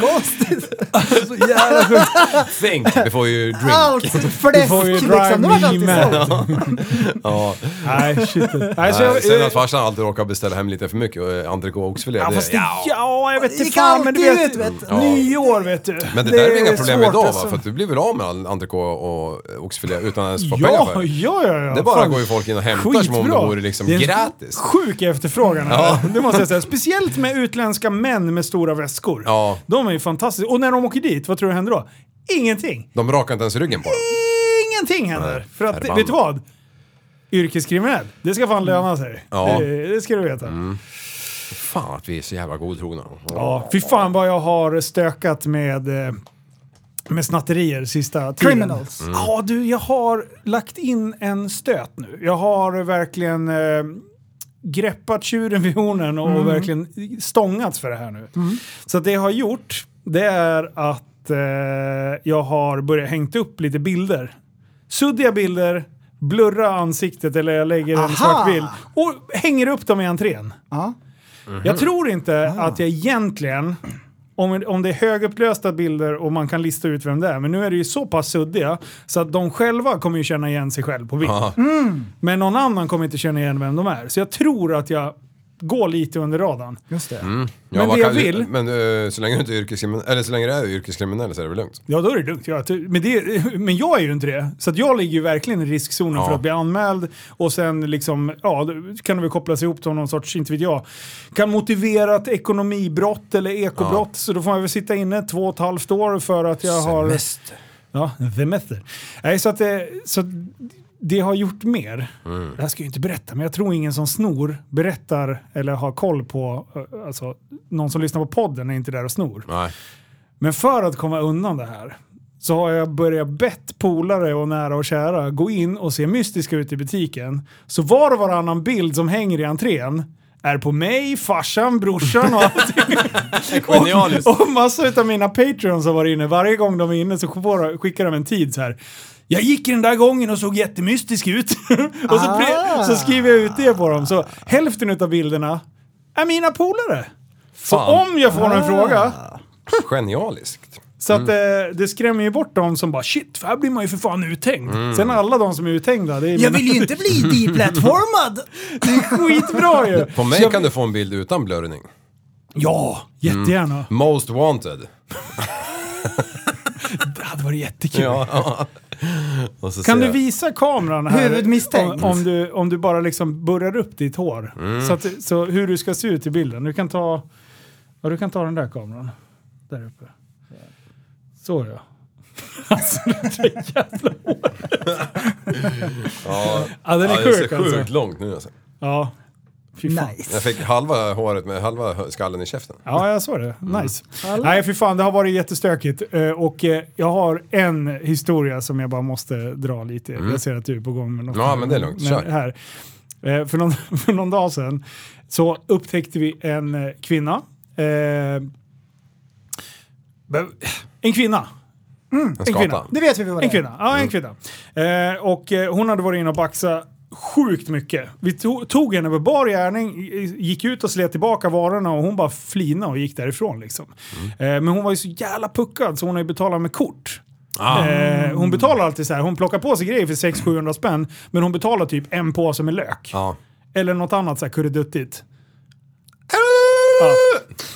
Konstigt. Så jävla sjukt. Think before you drink. Allt Du fläsk får ju liksom. drive Det var me alltid mad. sålt. Ja. Nej shit. Nej, så Nej, jag, Sen att eh, farsan alltid råkar beställa hem lite för mycket och eh, entrecote och oxfilé. Ja, det- fast det, ja, jag vet Det inte gick fan, men du alltid vet, ut, vet du. Ja. nyår vet du. Men det, där är väl inga problem svårt, idag va? alltså. För att du blir väl av med all entrecote och eh, oxfilé utan ens få pengar Ja, för det. ja, ja, ja. Det bara Fan, går ju folk in och hämtar som om det skitbra. vore liksom Det är en gratis. Sjuk efterfrågan. Ja. Det måste jag säga. Speciellt med utländska män med stora väskor. Ja. De är ju fantastiska. Och när de åker dit, vad tror du händer då? Ingenting. De rakar inte ens ryggen på dem. Ingenting händer. Nej, För att, förbannat. vet du vad? Yrkeskriminell. Det ska fan löna sig. Ja. Det, det ska du veta. Fan att vi är så jävla godtrogna. Ja, fy fan vad jag har stökat med, eh, med snatterier sista tiden. Criminals. Ja du, jag har lagt in en stöt nu. Jag har verkligen eh, greppat tjuren vid hornen och Mm. verkligen stångats för det här nu. Så att det jag har gjort, det är att eh, jag har börjat hängt upp lite bilder. Suddiga bilder, blurra ansiktet eller jag lägger en Aha! svart bild och hänger upp dem i entrén. Ja. Mm. Jag tror inte att jag egentligen, om, om det är högupplösta bilder och man kan lista ut vem det är, men nu är det ju så pass suddiga så att de själva kommer ju känna igen sig själv på bild. Ja. Men någon annan kommer inte känna igen vem de är. Så jag tror att jag går lite under radarn. Just det. Ja, Men vad det jag kan- vill- Men eh, så länge du inte är yrkeskriminell, eller så länge du är yrkeskriminell så är det väl lugnt? Ja, då är det lugnt. Ja, ty- men, det, men jag är ju inte det. Så att jag ligger ju verkligen i riskzonen Ja. för att bli anmäld och sen liksom, ja, då kan det väl kopplas ihop till någon sorts, inte vet jag, kan motivera ett ekonomibrott eller ekobrott. Så då får jag väl sitta inne två och ett halvt år för att jag har... Ja, semester. Nej, så att det, så att det har gjort mer. Det här ska jag ju inte berätta, men jag tror ingen som snor berättar eller har koll på, eh, alltså någon som lyssnar på podden är inte där och snor. Nej. Men för att komma undan det här så har jag börjat bett polare och nära och kära gå in och se mystiska ut i butiken. Så var och varannan bild som hänger i entrén är på mig, farsan, brorsan och allting. Genialiskt. Och massor av mina patreons har varit inne. Varje gång de är inne så får- skickar de en tid så här. Jag gick den där gången och såg jättemystisk ut. och så, Ah. pre- så skriver jag ut det på dem. Så hälften av bilderna är mina polare. Så Fan. Ah. om jag får en fråga Genialiskt. så att Mm. eh, det skrämmer ju bort de som bara shit, för här blir man ju för fan uthängd. Mm. Sen alla de som är uthängda, det är Jag vill ju inte bli deplatformad! skitbra ju! På Så mig jag- kan du få en bild utan blurrning. Ja, jättegärna. Most wanted. Det hade varit jättekul. Ja. Och så Kan ser du jag- visa kameran här? Huvudmisstänkt. Om, om, du, om du bara liksom burrar upp ditt hår. Mm. Så, att, så hur du ska se ut i bilden. Du kan ta, ja, du kan ta den där kameran. Där uppe. Så ja. Alltså det där jävla håret. Ja, Ja, den är ja, det sjuk ser sjukt alltså. långt nu alltså. Ja. Fy fan. Nice. Jag fick halva håret med halva hö- skallen i käften. Ja, jag såg det. Mm. Nice. Nej, för fan, det har varit jättestökigt. Eh, Och eh, jag har en historia som jag bara måste dra lite. Jag ser att du är på gång med något. Mm. Ja, men det är lugnt. Kör. Här. Eh, För, någon, för någon dag sedan så upptäckte vi en eh, kvinna. Eh, En kvinna. Mm, En En skata. kvinna. Det vet vi vad det En är. kvinna. Ja, en kvinna. Eh, och eh, hon hade varit inne och baxat sjukt mycket. Vi to- tog henne på bar gärning, i- gick ut och slet tillbaka varorna och hon bara flinade och gick därifrån. Liksom. Eh, men hon var ju så jävla puckad så hon har ju betalat med kort. Eh, hon betalar alltid så här, hon plockar på sig grejer för 600-700 spänn, men hon betalar typ en påse med lök. Ja. Eller något annat så här kurreduttigt.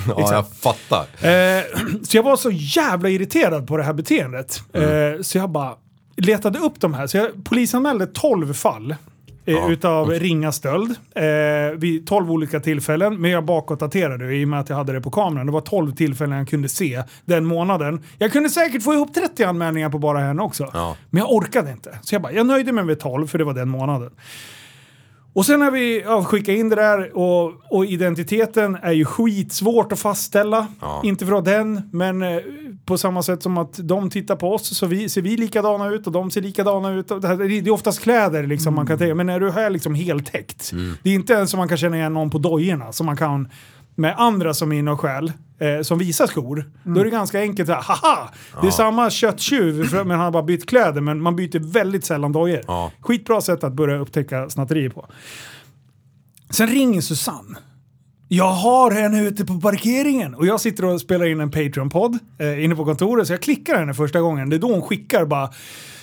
Ja, jag fattar. Eh, så jag var så jävla irriterad på det här beteendet. Eh, så jag bara letade upp de här. Så jag polisanmälde 12 fall. Eh, Utav ringa stöld. Eh, vid 12 olika tillfällen. Men jag bakåtdaterade det i och med att jag hade det på kameran. Det var 12 tillfällen jag kunde se den månaden. Jag kunde säkert få ihop 30 anmälningar på bara henne också. Ja. Men jag orkade inte. Så jag bara, jag nöjde mig med 12 för det var den månaden. Och sen har vi ja, skickat in det där och, och identiteten är ju skitsvårt att fastställa. Ja. Inte för att ha den, men eh, på samma sätt som att de tittar på oss så vi, ser vi likadana ut och de ser likadana ut. Och Det, här, det är oftast kläder liksom man Mm. kan tänka, men är du här liksom heltäckt? Det är inte ens som man kan känna igen någon på dojorna som man kan med andra som är inne och stjäl, eh, som visar skor, Mm. då är det ganska enkelt att haha! Det är samma kötttjuv, för- men han har bara bytt kläder, men man byter väldigt sällan dojor. Ja. Skitbra sätt att börja upptäcka snatterier på. Sen ringer Susanne. Jag har henne ute på parkeringen och jag sitter och spelar in en Patreon-podd eh, inne på kontoret så jag klickar henne första gången. Det är då hon skickar bara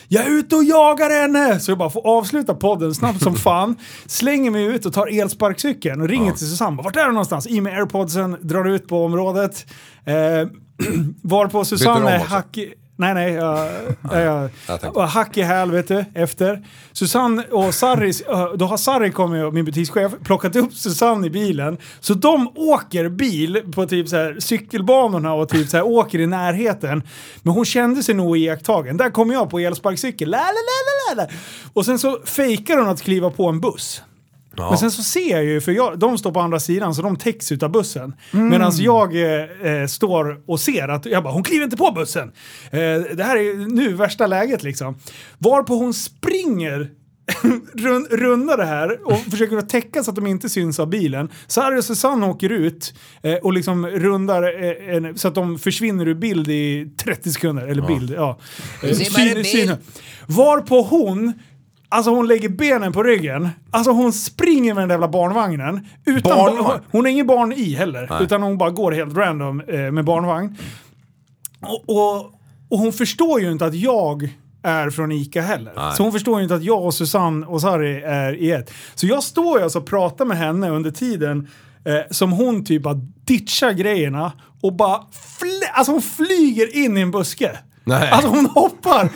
jag är ute och jagar henne! Så jag bara får avsluta podden snabbt som fan. Slänger mig ut och tar elsparkcykeln och ringer till Susanne. Bara, Vart är du någonstans? I med airpodsen, drar ut på området. Eh, varpå Byter Susanne du är om också? hackig... Nej, nej. Jag, jag, jag tänkte. och hack i häl vet du, efter. Susanne och Sarri, då har Sarri kommit, och min butikschef, plockat upp Susanne i bilen. Så de åker bil på typ så här cykelbanorna och typ så här åker i närheten. Men hon kände sig nog iakttagen. Där kom jag på elsparkcykel. La, la, la, la, la, la. Och sen så fejkar hon att kliva på en buss. Men sen så ser jag ju, för jag, de står på andra sidan så de täcks utav bussen. Medan jag eh, eh, står och ser att, jag bara hon kliver inte på bussen. Eh, det här är nu värsta läget liksom. Varpå hon springer rund, runda det här och försöker att täcka så att de inte syns av bilen. Sarri och Susanne åker ut eh, och liksom rundar eh, en, så att de försvinner ur bild i 30 sekunder. Eller bild, ja. Eh, syn, syn. Varpå hon Alltså hon lägger benen på ryggen. Alltså hon springer med den där jävla barnvagnen. Utan Barnvagn? hon- Hon har ingen barn i heller. Utan hon bara går helt random eh, med barnvagn. Och, och, och hon förstår ju inte att jag är från ICA heller. Så hon förstår ju inte att jag och Susanne och Sari är i ett. Så jag står ju alltså och pratar med henne under tiden eh, som hon typ bara ditchar grejerna och bara fl- alltså hon flyger in i en buske. Nej. Alltså hon hoppar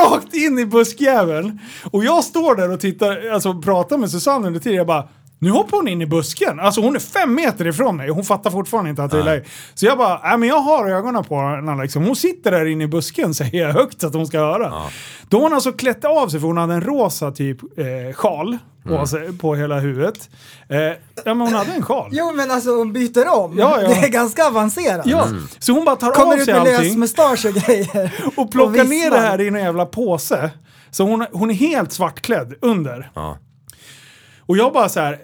rakt in i buskjäveln. Och jag står där och tittar, alltså pratar med Susanne under tiden. Jag bara, nu hoppar hon in i busken. Alltså hon är fem meter ifrån mig och hon fattar fortfarande inte att det är läge. Så jag bara, nej men jag har ögonen på henne liksom. Hon sitter där inne i busken säger jag högt så att hon ska höra. Då har hon alltså klätt av sig för hon hade en rosa typ eh, sjal på, sig, på hela huvudet. Eh, ja men hon hade en sjal. Jo men alltså hon byter om. Ja, ja. Det är ganska avancerat. Ja, så hon bara tar Kommer av ut sig med allting. lös mustasch och grejer. och plockar ner visslar. det här i en jävla påse. Så hon, hon är helt svartklädd under. Ja. Och jag bara så här,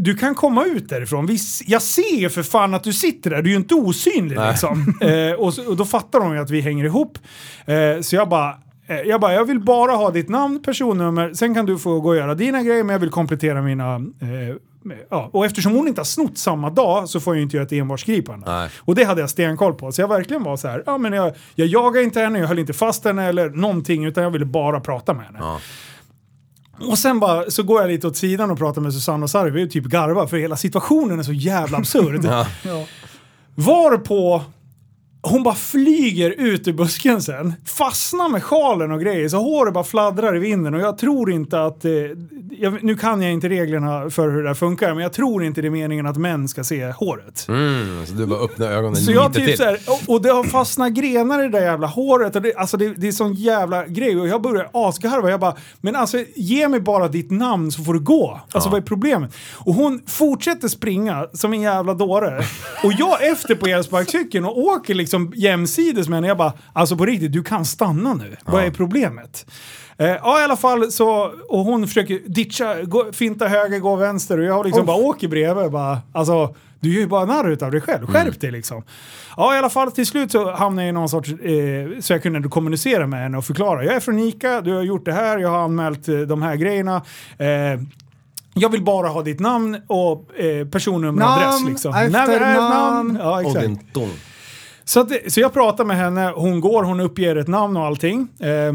du kan komma ut därifrån. Vi, s- jag ser ju för fan att du sitter där, du är ju inte osynlig liksom. eh, och, så, och då fattar de ju att vi hänger ihop. Eh, så jag bara, eh, jag bara, jag vill bara ha ditt namn, personnummer, sen kan du få gå och göra dina grejer, men jag vill komplettera mina... Eh, med- Ja, och eftersom hon inte har snott samma dag så får jag ju inte göra ett envarsgripande. Nej. Och det hade jag stenkoll på. Så jag verkligen var så här, ja men jag, jag jagade inte henne, jag höll inte fast henne eller någonting utan jag ville bara prata med henne. Och sen bara, så går jag lite åt sidan och pratar med Susanne och Sarri, vi är typ garva för hela situationen är så jävla absurd. Varpå hon bara flyger ut ur busken sen, fastnar med sjalen och grejer så håret bara fladdrar i vinden och jag tror inte att, eh, jag, nu kan jag inte reglerna för hur det här funkar, men jag tror inte det är meningen att män ska se håret. Mm, så du bara öppnar ögonen Så lite jag typ till. så här, och, och det har fastnat grenar i det där jävla håret. Och det, alltså det, det är sån jävla grej. Och jag börjar asgarva. Jag bara, men alltså ge mig bara ditt namn så får du gå. Alltså vad är problemet? Och hon fortsätter springa som en jävla dåre. Och jag efter på elsparkcykeln och åker liksom jämsides med henne. Jag bara, alltså på riktigt, du kan stanna nu. Vad är problemet? Eh, ja i alla fall så, och hon försöker ditcha, gå, finta höger, gå vänster och jag liksom bara åker bredvid bara, alltså du är ju bara narr utav dig själv, Mm. skärp dig liksom. Ja i alla fall till slut så hamnade jag i någon sorts, eh, så jag kunde kommunicera med henne och förklara, jag är från ICA, du har gjort det här, jag har anmält eh, de här grejerna. Eh, jag vill bara ha ditt namn och eh, personnummer och Namn, adress liksom. efternamn. Ja, Och exakt. din ton. Så, att, det- så jag pratar med henne, hon går, hon uppger ett namn och allting. Eh,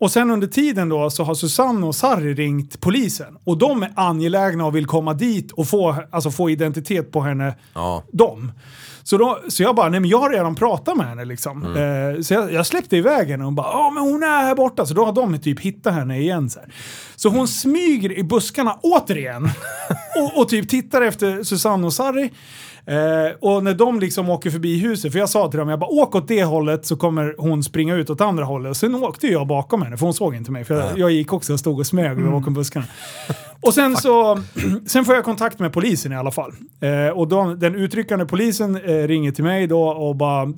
och sen under tiden då så har Susanne och Sarri ringt polisen. Och de är angelägna och vill komma dit och få, alltså få identitet på henne, Ja. dem. Så, då, så jag bara, nej men jag har redan pratat med henne liksom. Eh, så jag, jag släppte iväg henne och hon bara, ja men hon är här borta. Så då har de typ hittat henne igen. Så, här. så hon smyger i buskarna återigen. och, och typ tittar efter Susanne och Sarri. Eh, och när de liksom åker förbi huset, för jag sa till dem, jag bara åk åt det hållet så kommer hon springa ut åt andra hållet. Och sen åkte jag bakom henne, för hon såg inte mig. För jag, jag gick också och stod och smög bakom buskarna. Och sen så, sen får jag kontakt med polisen i alla fall. Eh, och de, den utryckande polisen eh, ringer till mig då och bara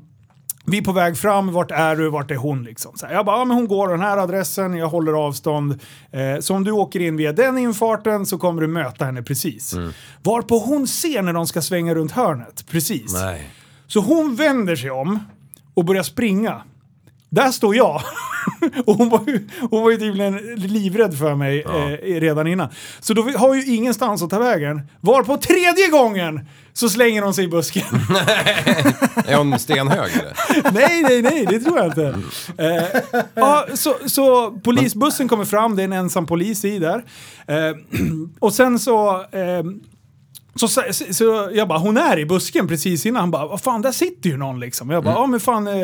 vi är på väg fram, vart är du, vart är hon? Liksom. Så här, jag bara, ja, men hon går den här adressen, jag håller avstånd. Eh, så om du åker in via den infarten så kommer du möta henne precis. Varpå hon ser när de ska svänga runt hörnet, precis. Nej. Så hon vänder sig om och börjar springa. Där står jag. och hon var ju, hon var ju tydligen livrädd för mig eh, redan innan. Så då vi- har ju ingenstans att ta vägen. Var på tredje gången så slänger hon sig i busken. Är hon stenhög eller? nej, nej, nej, det tror jag inte. Eh, ja, så, så polisbussen kommer fram, det är en ensam polis i där. Eh, och sen så... ehm, så, så, så jag bara, hon är i busken precis innan. Han bara, vad fan, där sitter ju någon liksom. Jag bara, ja men fan. Eh.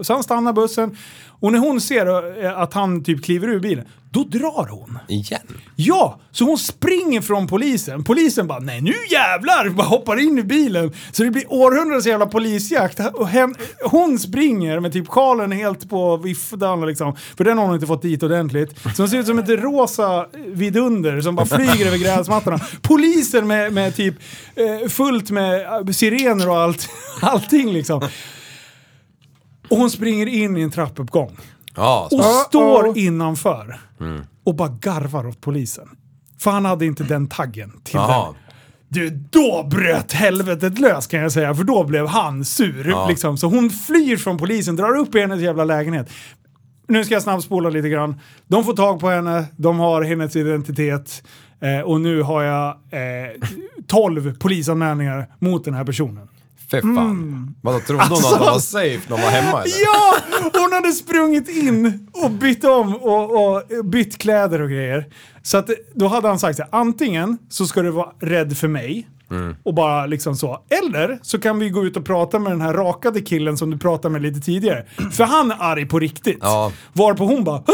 Så han stannar bussen. Och när hon ser eh, att han typ kliver ur bilen, då drar hon. Igen? Ja, så hon springer från polisen. Polisen bara nej nu jävlar! Bara hoppar in i bilen. Så det blir århundradets jävla polisjakt. Och hen, hon springer med typ sjalen helt på viftan liksom. För den har hon inte fått dit ordentligt. Så hon ser ut som ett rosa vidunder som bara flyger över gräsmattorna. Polisen med, med typ eh, fullt med eh, sirener och allt, allting liksom. Och hon springer in i en trappuppgång. Ja, Och så- står innanför och bara garvar åt polisen. För han hade inte den taggen till Jaha. den. Du, då bröt helvetet lös kan jag säga, för då blev han sur. Liksom. Så hon flyr från polisen, drar upp i hennes jävla lägenhet. Nu ska jag snabbspola lite grann. De får tag på henne, de har hennes identitet eh, och nu har jag eh, 12 polisanmälningar mot den här personen. Fy fan. Vadå, trodde hon att hon var safe när hon var hemma eller? Ja! Hon hade sprungit in och bytt om och, och bytt kläder och grejer. Så att då hade han sagt så här, antingen så ska du vara rädd för mig Mm. och bara liksom så. Eller så kan vi gå ut och prata med den här rakade killen som du pratade med lite tidigare. För han är arg på riktigt. Ja. Varpå hon bara "Ah!"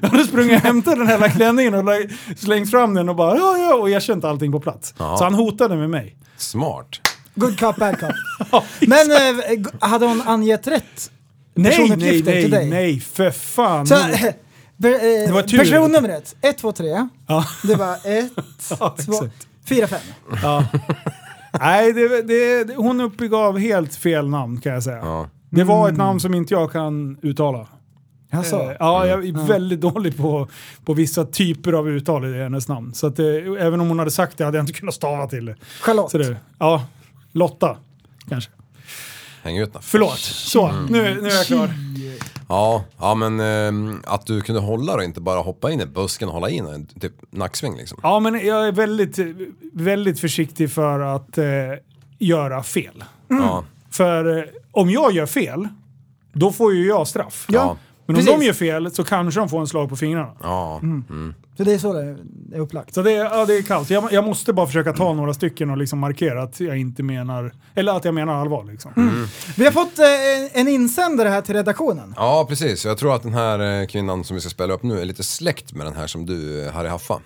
jag hade sprungit och hämtat den här lilla klänningen och la- slängt fram den och bara ja, ja, och erkänt allting på plats. Så han hotade med mig. Smart. Good cop, bad cop. Men eh, g- hade hon angett rätt? Nej, nej, Personuppgifter till nej, dig. nej, för fan. Så, per, eh, var tur. personnumret, 1, 2, 3. Ja. Det var 1, Ja, 2, exakt. 4, 5. Nej, det, det, det, hon uppgav helt fel namn kan jag säga. Det var ett namn som inte jag kan uttala. Eh, Jaså? Ja, Mm. jag är väldigt dålig på, på vissa typer av uttal i hennes namn. Så att, eh, även om hon hade sagt det hade jag inte kunnat stava till det. Charlotte. Så det ja, Lotta kanske. Häng ut den. Förlåt. Så, nu, nu är jag klar. Ja, ja men ehm, att du kunde hålla och inte bara hoppa in i busken och hålla in en typ nacksving liksom. Ja, men jag är väldigt, eh, väldigt försiktig för att eh, göra fel. Ja. För eh, om jag gör fel, då får ju jag straff. Ja. Men om Precis. de gör fel så kanske de får en slag på fingrarna. Ja. Så det är så det är upplagt. Så det, är- ja, det är kallt. Jag, jag måste bara försöka ta några stycken och liksom markera att jag inte menar, eller att jag menar allvar liksom. Mm. Vi har fått eh, en insändare här till redaktionen. ja, precis. Jag tror att den här eh, kvinnan som vi ska spela upp nu är lite släkt med den här som du, eh, Harry Haffa.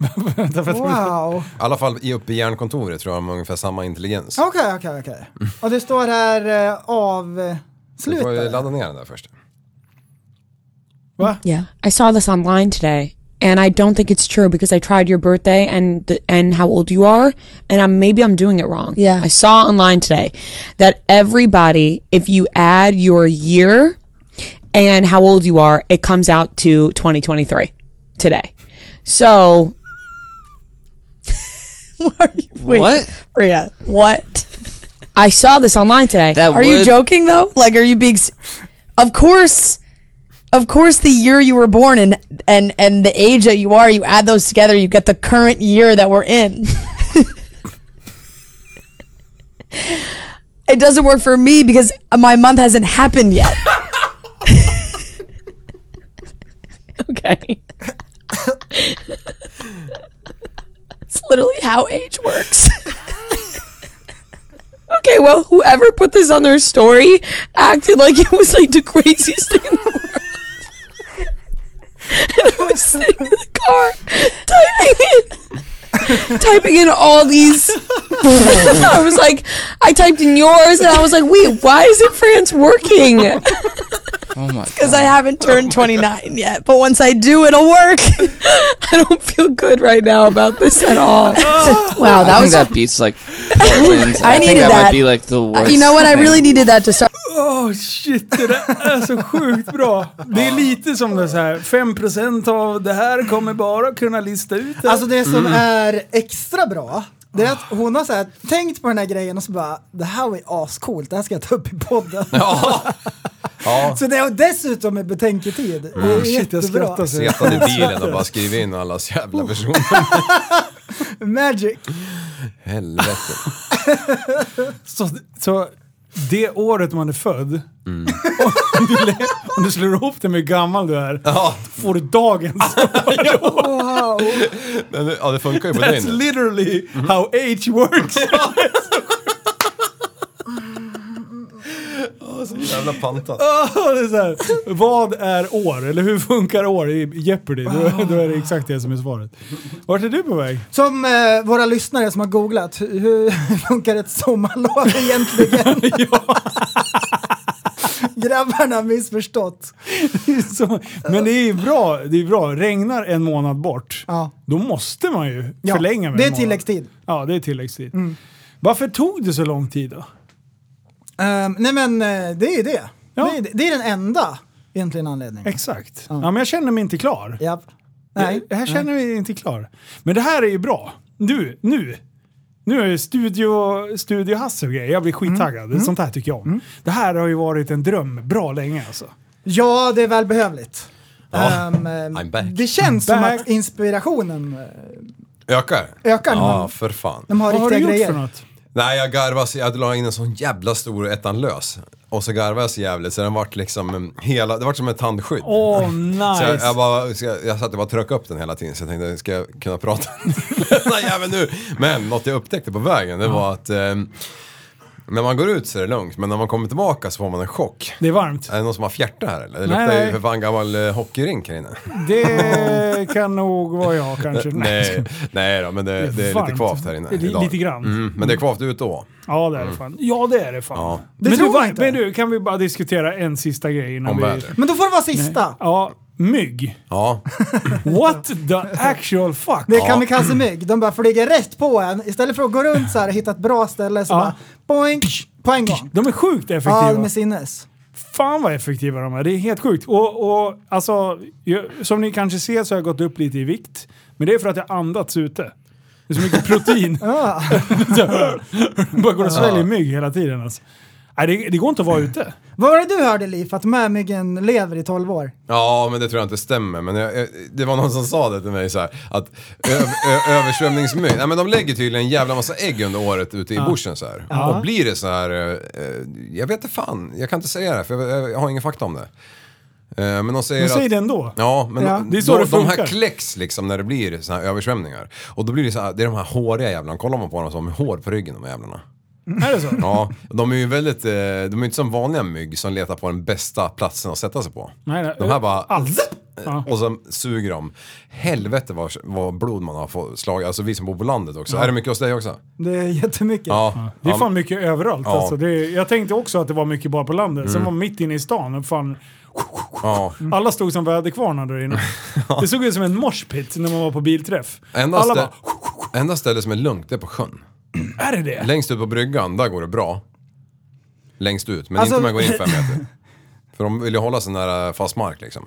Därför att- Wow. I alla fall i- uppe i järnkontoret tror jag de har ungefär samma intelligens. Okej, okej, okej. Och det står här eh, av... eh, Du får ju Sluta. ladda ner den där först. Yeah, I saw this online today, and I don't think it's true because I tried your birthday and the, and how old you are, and I'm, maybe I'm doing it wrong. Yeah, I saw online today that everybody, if you add your year and how old you are, it comes out to 2023 today. So, what? Are you, what? Rhea, what? I saw this online today. are you joking though? Like, are you being? s- Of course of course the year you were born and and and the age that you are you add those together you get the current year that we're in it doesn't work for me because my month hasn't happened yet okay it's literally how age works okay well whoever put this on their story acted like it was like the craziest thing in the world I was sitting in the car typing it. typing in all these. I was like, I typed in yours, and I was like, wait, why isn't France working? Oh my Because I haven't turned 29 yet, but once I do, it'll work. I don't feel good right now about this at all. Wow, wow, I that was. think that beats like Portland. I I, think needed that, that. might be like the worst. you know what? I thing. really needed that to start. Åh Oh, shit, det där är så sjukt bra. Det är lite som det så här, 5% av det här kommer bara kunna lista ut det. Alltså det som är extra bra, det är att hon har så här, tänkt på den här grejen och så bara det här var ju ascoolt, det här ska jag ta upp i podden. Ja. Så det är dessutom med betänketid. Det är jättebra. Setade i bilen och bara skrev in allas jävla personer. Magic. Helvete. Så, så det året man är född, Mm. om, du, lä- om du slår ihop det med hur gammal du är, får du dagens Wow. Ah, Men det- Ja, det Mm-hmm. funkar ju på dig That's nu. literally how age works. Ja, så jävla pantat. Åh, Ah, det är så här, vad är år? Eller hur funkar år i Jeopardy? Ah. Då, då är det exakt det som är svaret. Vart är du på väg? Som eh, våra lyssnare som har googlat, hur, hur funkar ett sommarlov egentligen? Grabbarna har missförstått. Så, men det är ju bra, det är bra. Regnar en månad bort, Ja. då måste man ju Ja, förlänga med det en är månad. tilläggstid. Mm. Ja, det är tilläggstid. Varför tog det så lång tid då? Ehm, nej men eh, det är ju det. Ja. Det, är, det. det är den enda egentligen anledningen. Exakt. Ja, men jag känner mig inte klar. Japp. Nej. Jag, jag känner mig inte klar. Men det här är ju bra. Nu, nu. Nu är det studio, studio Hasse och grejer. Jag Mm. blir skittaggad. Sånt här tycker jag om. Det här har ju varit en dröm bra länge alltså. Ja, det är välbehövligt. Ehm, eh, I'm back. det känns Back. som att inspirationen eh, Ökar? ökar när Ja, man, för fan. de har Vad har riktiga du gjort grejer. för något? Nej, jag garvade så jag la in en sån jävla stor ettan lös. Och så garvade jag så jävligt så den vart liksom mm, hela, det vart som ett tandskydd. Åh, nice. Så jag, jag, bara, så jag, jag satt och bara tryckte upp den hela tiden så jag tänkte, ska jag kunna prata Nej, jäveln nu? Men något jag upptäckte på vägen, det var att ehm, när man går ut så är det lugnt, men när man kommer tillbaka så får man en chock. Det är varmt. Är det någon som har fjärta här eller? Nej, Det luktar nej. ju för fan gammal eh, hockeyrink här inne. Det kan nog vara jag kanske. Nej, nej då, men det, det, är lite varmt. kvavt här inne. Li- idag. lite grann. Mm, men det är kvavt ut då. Ja, det är det fan. Ja, det är det fan. Ja. Det men, tror du, jag inte. men du, kan vi bara diskutera en sista grej innan Om vi... vädret. Men då får det vara sista. Ja, mygg. Ja. What the actual fuck? Det är kamikazemygg. De bara flyger rätt på en istället för att gå runt så här och hitta ett bra ställe så Ja. bara boing på en gång. De är sjukt Ja, effektiva. de är sinnes. Fan vad effektiva de är. Det är helt sjukt. Och, och alltså, jag, som ni kanske ser så har jag gått upp lite i vikt. Men det är för att jag andats ute. Det är så mycket protein. Ja. Så jag bara går och sväljer mygg hela tiden alltså. Nej, det, det går inte att vara ute. Vad var det du hörde Liv? Att mämyggen lever i 12 år? Ja, men det tror jag inte stämmer. Men jag, jag- det var någon som sa det till mig så här, att ö, ö, översvämningsmygg, nej men de lägger tydligen en jävla massa ägg under året ute i bushen så här. Och blir det så här, eh, eh, jag vet inte fan, jag kan inte säga det för jag, jag har ingen fakta om det. Eh, Men de säger Men säg att, det ändå. Ja, men Ja. de, Det är så de, det de funkar. här kläcks liksom när det blir såna här översvämningar. Och då blir det så här, det är de här håriga jävlarna, kollar man på dem så har de hår på ryggen de här jävlarna. Är det så? Ja, de är ju väldigt, eh, de är ju inte som vanliga mygg som letar på den bästa platsen att sätta sig på. Nej, nej. De här bara... Alls. Ja. Och sen suger de. Helvete vad, vad blod man har fått slag. Alltså vi som bor på landet också. Är det mycket hos dig också? Det är jättemycket. Ja. Eh, Det är fan mycket överallt Ja. Mm. alltså. det, är- Jag tänkte också att det var mycket bara på landet. Sen var mitt inne i stan och fan... Ja. Alla stod som väderkvarnar där inne. Det såg ut som en moshpit när man var på bilträff. Enda, Alla stä- bara... enda stället som är lugnt det är på sjön. Är det det? Längst ut på bryggan, där går det bra. Längst ut, men Alltså- inte om jag går in fem meter. För de vill ju hålla sig nära fast mark liksom.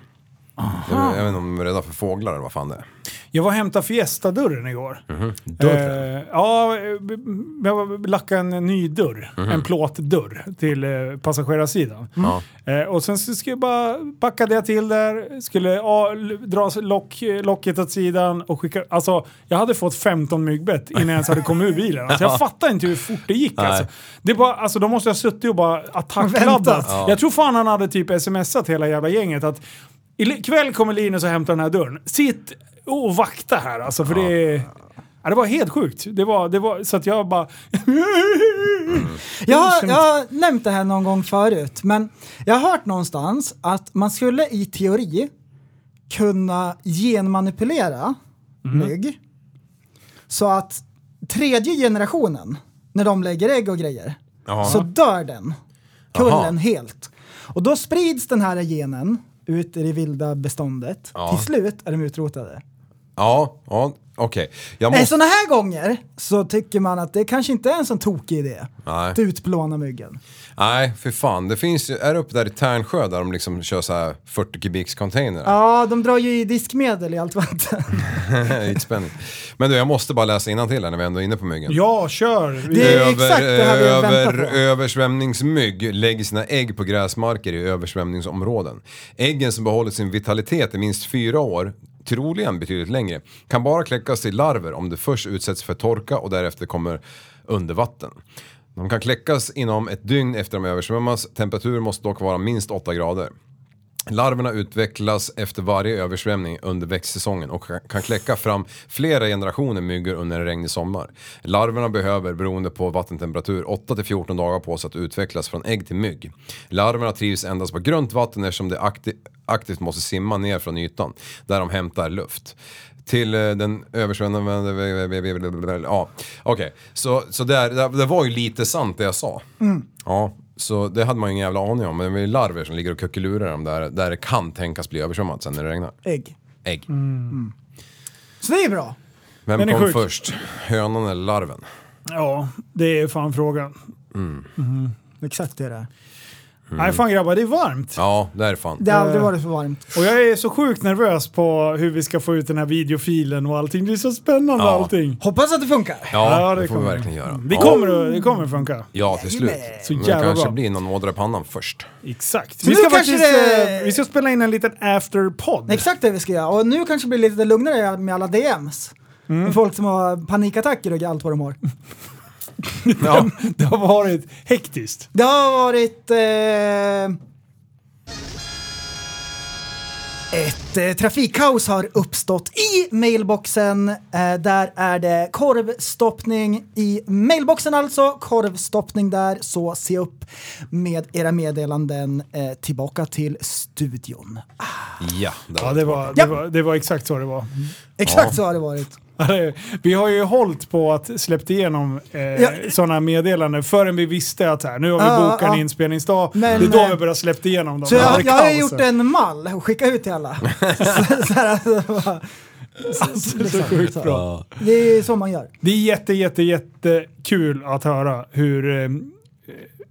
Jag vet- jag vet inte om de är rädda för fåglar eller vad fan det är. Jag var och hämtade Fiesta-dörren igår. Dörren? Eh, ja, eh, b- jag var- lackade en ny dörr. En plåtdörr till eh, passagerarsidan. Eh, och sen så skulle jag bara packade jag till där, skulle ja, l- dra s- lock, locket åt sidan och skicka... Alltså, jag hade fått 15 myggbett innan jag ens hade kommit ur bilen. Alltså, jag fattar inte hur fort det gick alltså. Det bara, alltså de måste ha suttit och bara attackladdat. Väntat. Jag tror fan han hade typ smsat hela jävla gänget att ikväll kommer Linus och hämtar den här dörren. Sitt och vakta här alltså för det är... Ja, det var helt sjukt. Det var, det var, så att jag bara... Jag har, jag har nämnt det här någon gång förut, men jag har hört någonstans att man skulle i Mm. teori kunna genmanipulera mygg Så att tredje generationen, när de lägger ägg och grejer, Jaha. så dör den. Kullen Jaha. helt. Och då sprids den här genen ut i det vilda beståndet. Ja. Till slut är de utrotade. Ja, ja okej. Jag Nej, måste... Sådana här gånger så tycker man att det kanske inte är en sån tokig idé. Nej. Att utplåna myggen. Nej, för fan. Det finns ju, är det uppe där i Tärnsjö där de liksom kör så här 40 kubiks container? Ja, de drar ju i diskmedel i allt vatten. Ytspänning. Men du, jag måste bara läsa innantill här när vi ändå är inne på myggen. Ja, kör! Det är exakt det här vi över, väntar på. Översvämningsmygg lägger sina ägg på gräsmarker i översvämningsområden. Äggen som behållit sin vitalitet i minst fyra år, troligen betydligt längre, kan bara kläckas till larver om de först utsätts för torka och därefter kommer under vatten. De kan kläckas inom ett dygn efter de översvämmas. Temperaturen måste dock vara minst 8 grader. Larverna utvecklas efter varje översvämning under växtsäsongen och kan- kan kläcka fram flera generationer myggor under en regnig sommar. Larverna behöver, beroende på vattentemperatur, 8-14 dagar på sig att utvecklas från ägg till mygg. Larverna trivs endast på grunt vatten eftersom de akti- aktivt måste simma ner från ytan, där de hämtar luft. Till eh, den översvämmande... Ja, okej. Så, så där, där, det var ju lite sant det jag sa. Mm. Ja, så det hade man ju ingen jävla aning om. Men det är larver som ligger och kuckelurar dem där, där det kan tänkas bli översvämmat sen när det regnar. Ägg. Ägg. Mm. Så det är bra. Vem Den är kom sjuk. först? Hönan eller larven? Ja, det är fan frågan. Mm. Exakt det där. Mm. Nej fan grabbar, det är varmt. Ja, det är fan. Det har aldrig varit för varmt. Och jag är så sjukt nervös på hur vi ska få ut den här videofilen och allting. Det är så spännande Ja. allting. Hoppas att det funkar. Ja, det får vi verkligen göra. Det Ja. kommer, att- det kommer att funka. Ja, till slut. Så Men det jävla kanske bra. blir någon ådra i pannan först. Exakt. Så Vi nu ska, kanske faktiskt, det- eh, vi ska spela in en liten afterpod. Exakt det vi ska göra. Och nu kanske det blir lite lugnare med alla DMs. Med folk som har panikattacker och allt vad de har. Ja. det har varit hektiskt. Det har varit... Eh, ett eh, trafikkaos har uppstått i mailboxen. Eh, där är det korvstoppning i mailboxen alltså. Korvstoppning där, så se upp med era meddelanden eh, tillbaka till studion. Ja, där Ja, det var, det, Ja. var, det var exakt så det var. Exakt så har det varit. Vi har ju hållt på att släppt igenom eh, Ja. sådana meddelanden förrän vi visste att här, nu har vi Ja, bokat en ja. inspelningsdag. Men, det är eh, då vi börjar släppt igenom dem. Så Det här jag, jag har kaoset. gjort en mall och skickat ut till alla. så, så här, alltså, bara- så, så sjukt bra. liksom. det är så man gör. Det är jätte, jätte, jätte kul att höra hur, eh,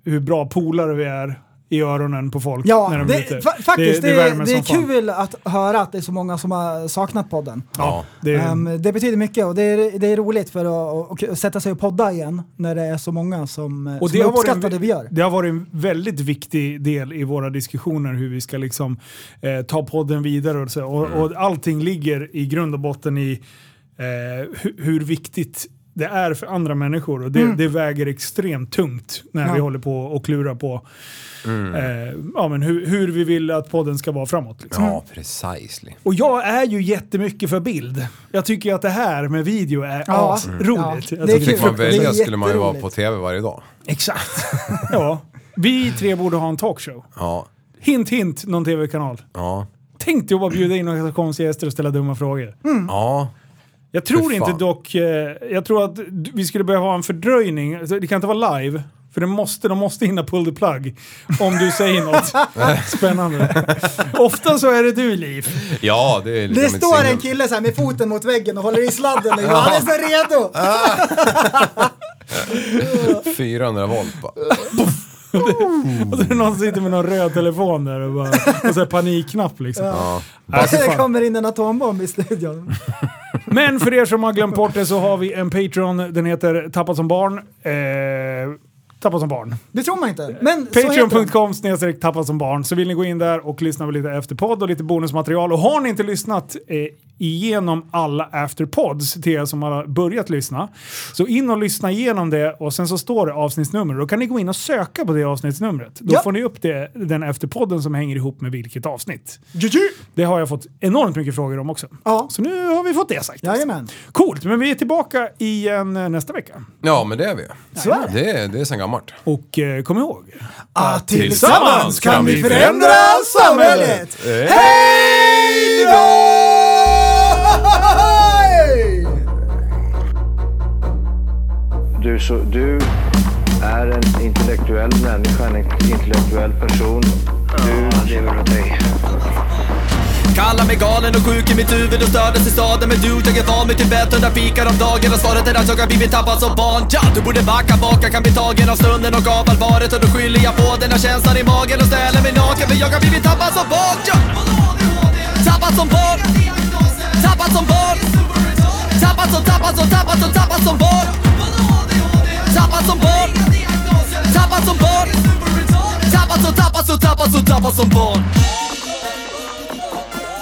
hur bra polare vi är i öronen på folk Ja, när de är ute. det, fa faktiskt. Det, är- värmer det är som fan. kul att höra att det är så många som har saknat podden. Ja, det är- Ehm, det betyder mycket och det är, det är roligt för att, att, att sätta sig och podda igen när det är så många som, Och Eh, som det, har varit uppskattar en, det vi gör. det har varit en väldigt viktig del i våra diskussioner hur vi ska liksom, eh, ta podden vidare. Och, så, och, Mm. och allting ligger i grund och botten i eh, hu- hur viktigt det är för andra människor. Och det, det väger extremt tungt när Mm. Ja. vi håller på och klurar på Mm. eh, ja, men hur, hur vi vill att podden ska vara framåt. Liksom. Ja, precisely. Och jag är ju jättemycket för bild. Jag tycker att det här med video är Ja. Mm. asroligt. Ja. Jag Det tycker är liksom- Fick man fruktansvärt- välja skulle man ju vara på TV varje dag. Exakt. ja. Vi tre borde ha en talkshow. Ja, Hint, hint, någon tv-kanal. ja, Tänk dig att bara bjuda in några konstiga gäster och ställa dumma frågor. ja. Jag tror Fy inte fan. dock... Eh, jag tror att d- vi skulle behöva ha en fördröjning. Alltså, Det kan inte vara live. För det måste, de måste hinna pull the plug om du säger något spännande. Ofta så är det du, Liv. Ja, det är lite Det mitt står signum. en kille så här med foten mot väggen och håller i sladden och han är så redo. kille. 400 volt bara. Och så är det någon som sitter med någon röd telefon där och bara... Och så här panikknapp liksom. Ja. Nej, fy det fan. kommer in en atombomb i studion. Men för er som har glömt bort det så har vi en Patreon. Den heter Tappat som barn. Eh, tappat som barn. Det tror man inte. Men så heter den. Patreon.com snedstreck tappat som barn. Så vill ni gå in där och lyssna på lite efterpodd och lite bonusmaterial. Och har ni inte lyssnat eh, igenom alla afterpods till er som har börjat lyssna. Så in och lyssna igenom det och sen så står det avsnittsnummer. Då kan ni gå in och söka på det avsnittsnumret. Då Ja. får ni upp det, den efterpodden som hänger ihop med vilket avsnitt. Det har jag fått enormt mycket frågor om också. Ja. Så nu har vi fått det sagt. Jajamän. Coolt, men vi är tillbaka igen eh, nästa vecka. Ja, men det är vi. Så är det. Det är, det är sen gammalt. Och eh, kom ihåg. Att Ah, tillsammans kan vi förändra samhället! Eh. Hej då! Du, är så, du är en intellektuell människa, en intellektuell person. Du lever av dig. Kallar mig galen och sjuk i mitt huvud och stördes i staden Men du, jag är van vid Tibet, hundra fikar om dagen Och svaret är att jag har blivit tappad som barn ja, Du borde backa bak, jag kan bli tagen av stunden och av allvaret Och då skyller jag på den här känslan i magen och ställer mig naken För jag har blivit tappad som barn ja. Tappad som barn Tappad som barn Tappad som, tappad som, tappad som, tappad som barn Tappad som barn Tappad som barn Tappad som, tappad som, tappad som, tappad som barn